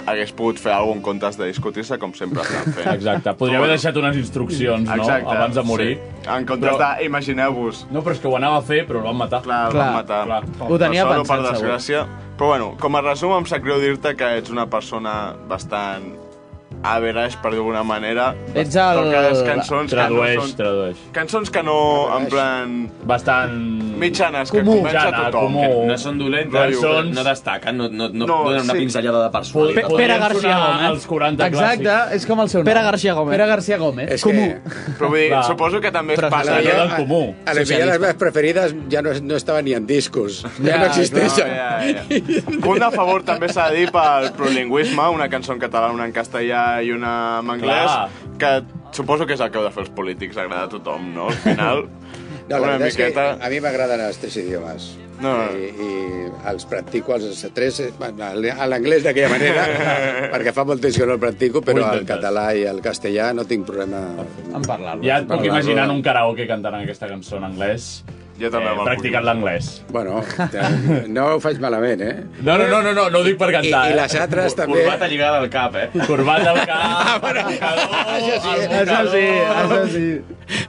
hagués pogut fer alguna cosa en comptes de discutir-se com sempre estan fent. Exacte. Podria haver deixat unes instruccions, no? Exacte, Abans de morir. Sí. En comptes Però- però... de, imagineu-vos. No, però és que ho anava a fer, però el van matar. Clar, el Clar, van matar. clar. Clar. Ho tenia per sort o pensat, per desgràcia. Però bueno, com a resum, em sap greu dir-te que ets una persona bastant average, per dir d'alguna manera. Ets el- Toques cançons Tradueix, que no són... tradueix. Cançons que no, en plan... Bastant... Mitjanes, que Comú. comença tothom. Que No són dolentes, Rotllo. són... no destaquen, no, no, no, No, no donen una sí. pinzellada de Pe- personalitat. Pere García Gómez. Els 40 Exacte, clàssics. és com el seu nom. Pere García Gómez. Pere García Gómez. És Comú. Però vull dir, Clar. suposo que també es Però passa... a la- A les millor les meves preferides ja no, no estaven ni en discos. Ja, no existeixen. No, ja, ja. Punt a favor també s'ha de dir pel prolingüisme, una cançó en català, una en castellà i una en anglès, Clar. que suposo que és el que heu de fer els polítics, agrada a tothom, no? Al final, No, la una veritat miqueta... és que a mi m'agraden els tres idiomes. No. I, I els practico els tres, eh, bueno, a l'anglès d'aquella manera, perquè fa molt temps que no el practico, però Ho el intentes. castellà i el castellà no tinc problema en parlar-lo. Ja et puc imaginar en un karaoke cantant aquesta cançó en anglès. Jo Eh, també me'l puc practicant l'anglès. Bueno, no ho faig malament, eh? No, no, no, no, no, no ho dic per cantar. eh. I- i les altres també. Ah, Corbata lligada al cap, eh? Corbata al cap. Això sí, això sí, això sí.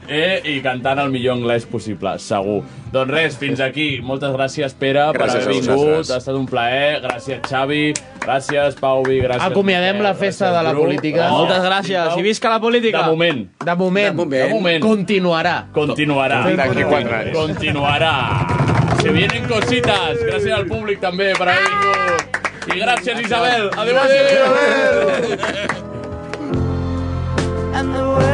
Eh, I cantant el millor anglès possible, segur. Doncs res, fins aquí. Moltes gràcies, Pere, Gràcies per haver a vingut. vosaltres. Ha estat un plaer. Gràcies, Xavi. Gràcies, Pauvi. Gràcies, Acomiadem la festa de la Bru. política. Oh. Moltes gràcies. I visca la política. De moment. De moment. De moment. De moment. Continuarà. Continuarà. D'aquí quatre anys. Continuarà. Se vienen cositas. Gràcies al públic també per haver vingut. I gràcies, Isabel. Adéu, adéu. And the world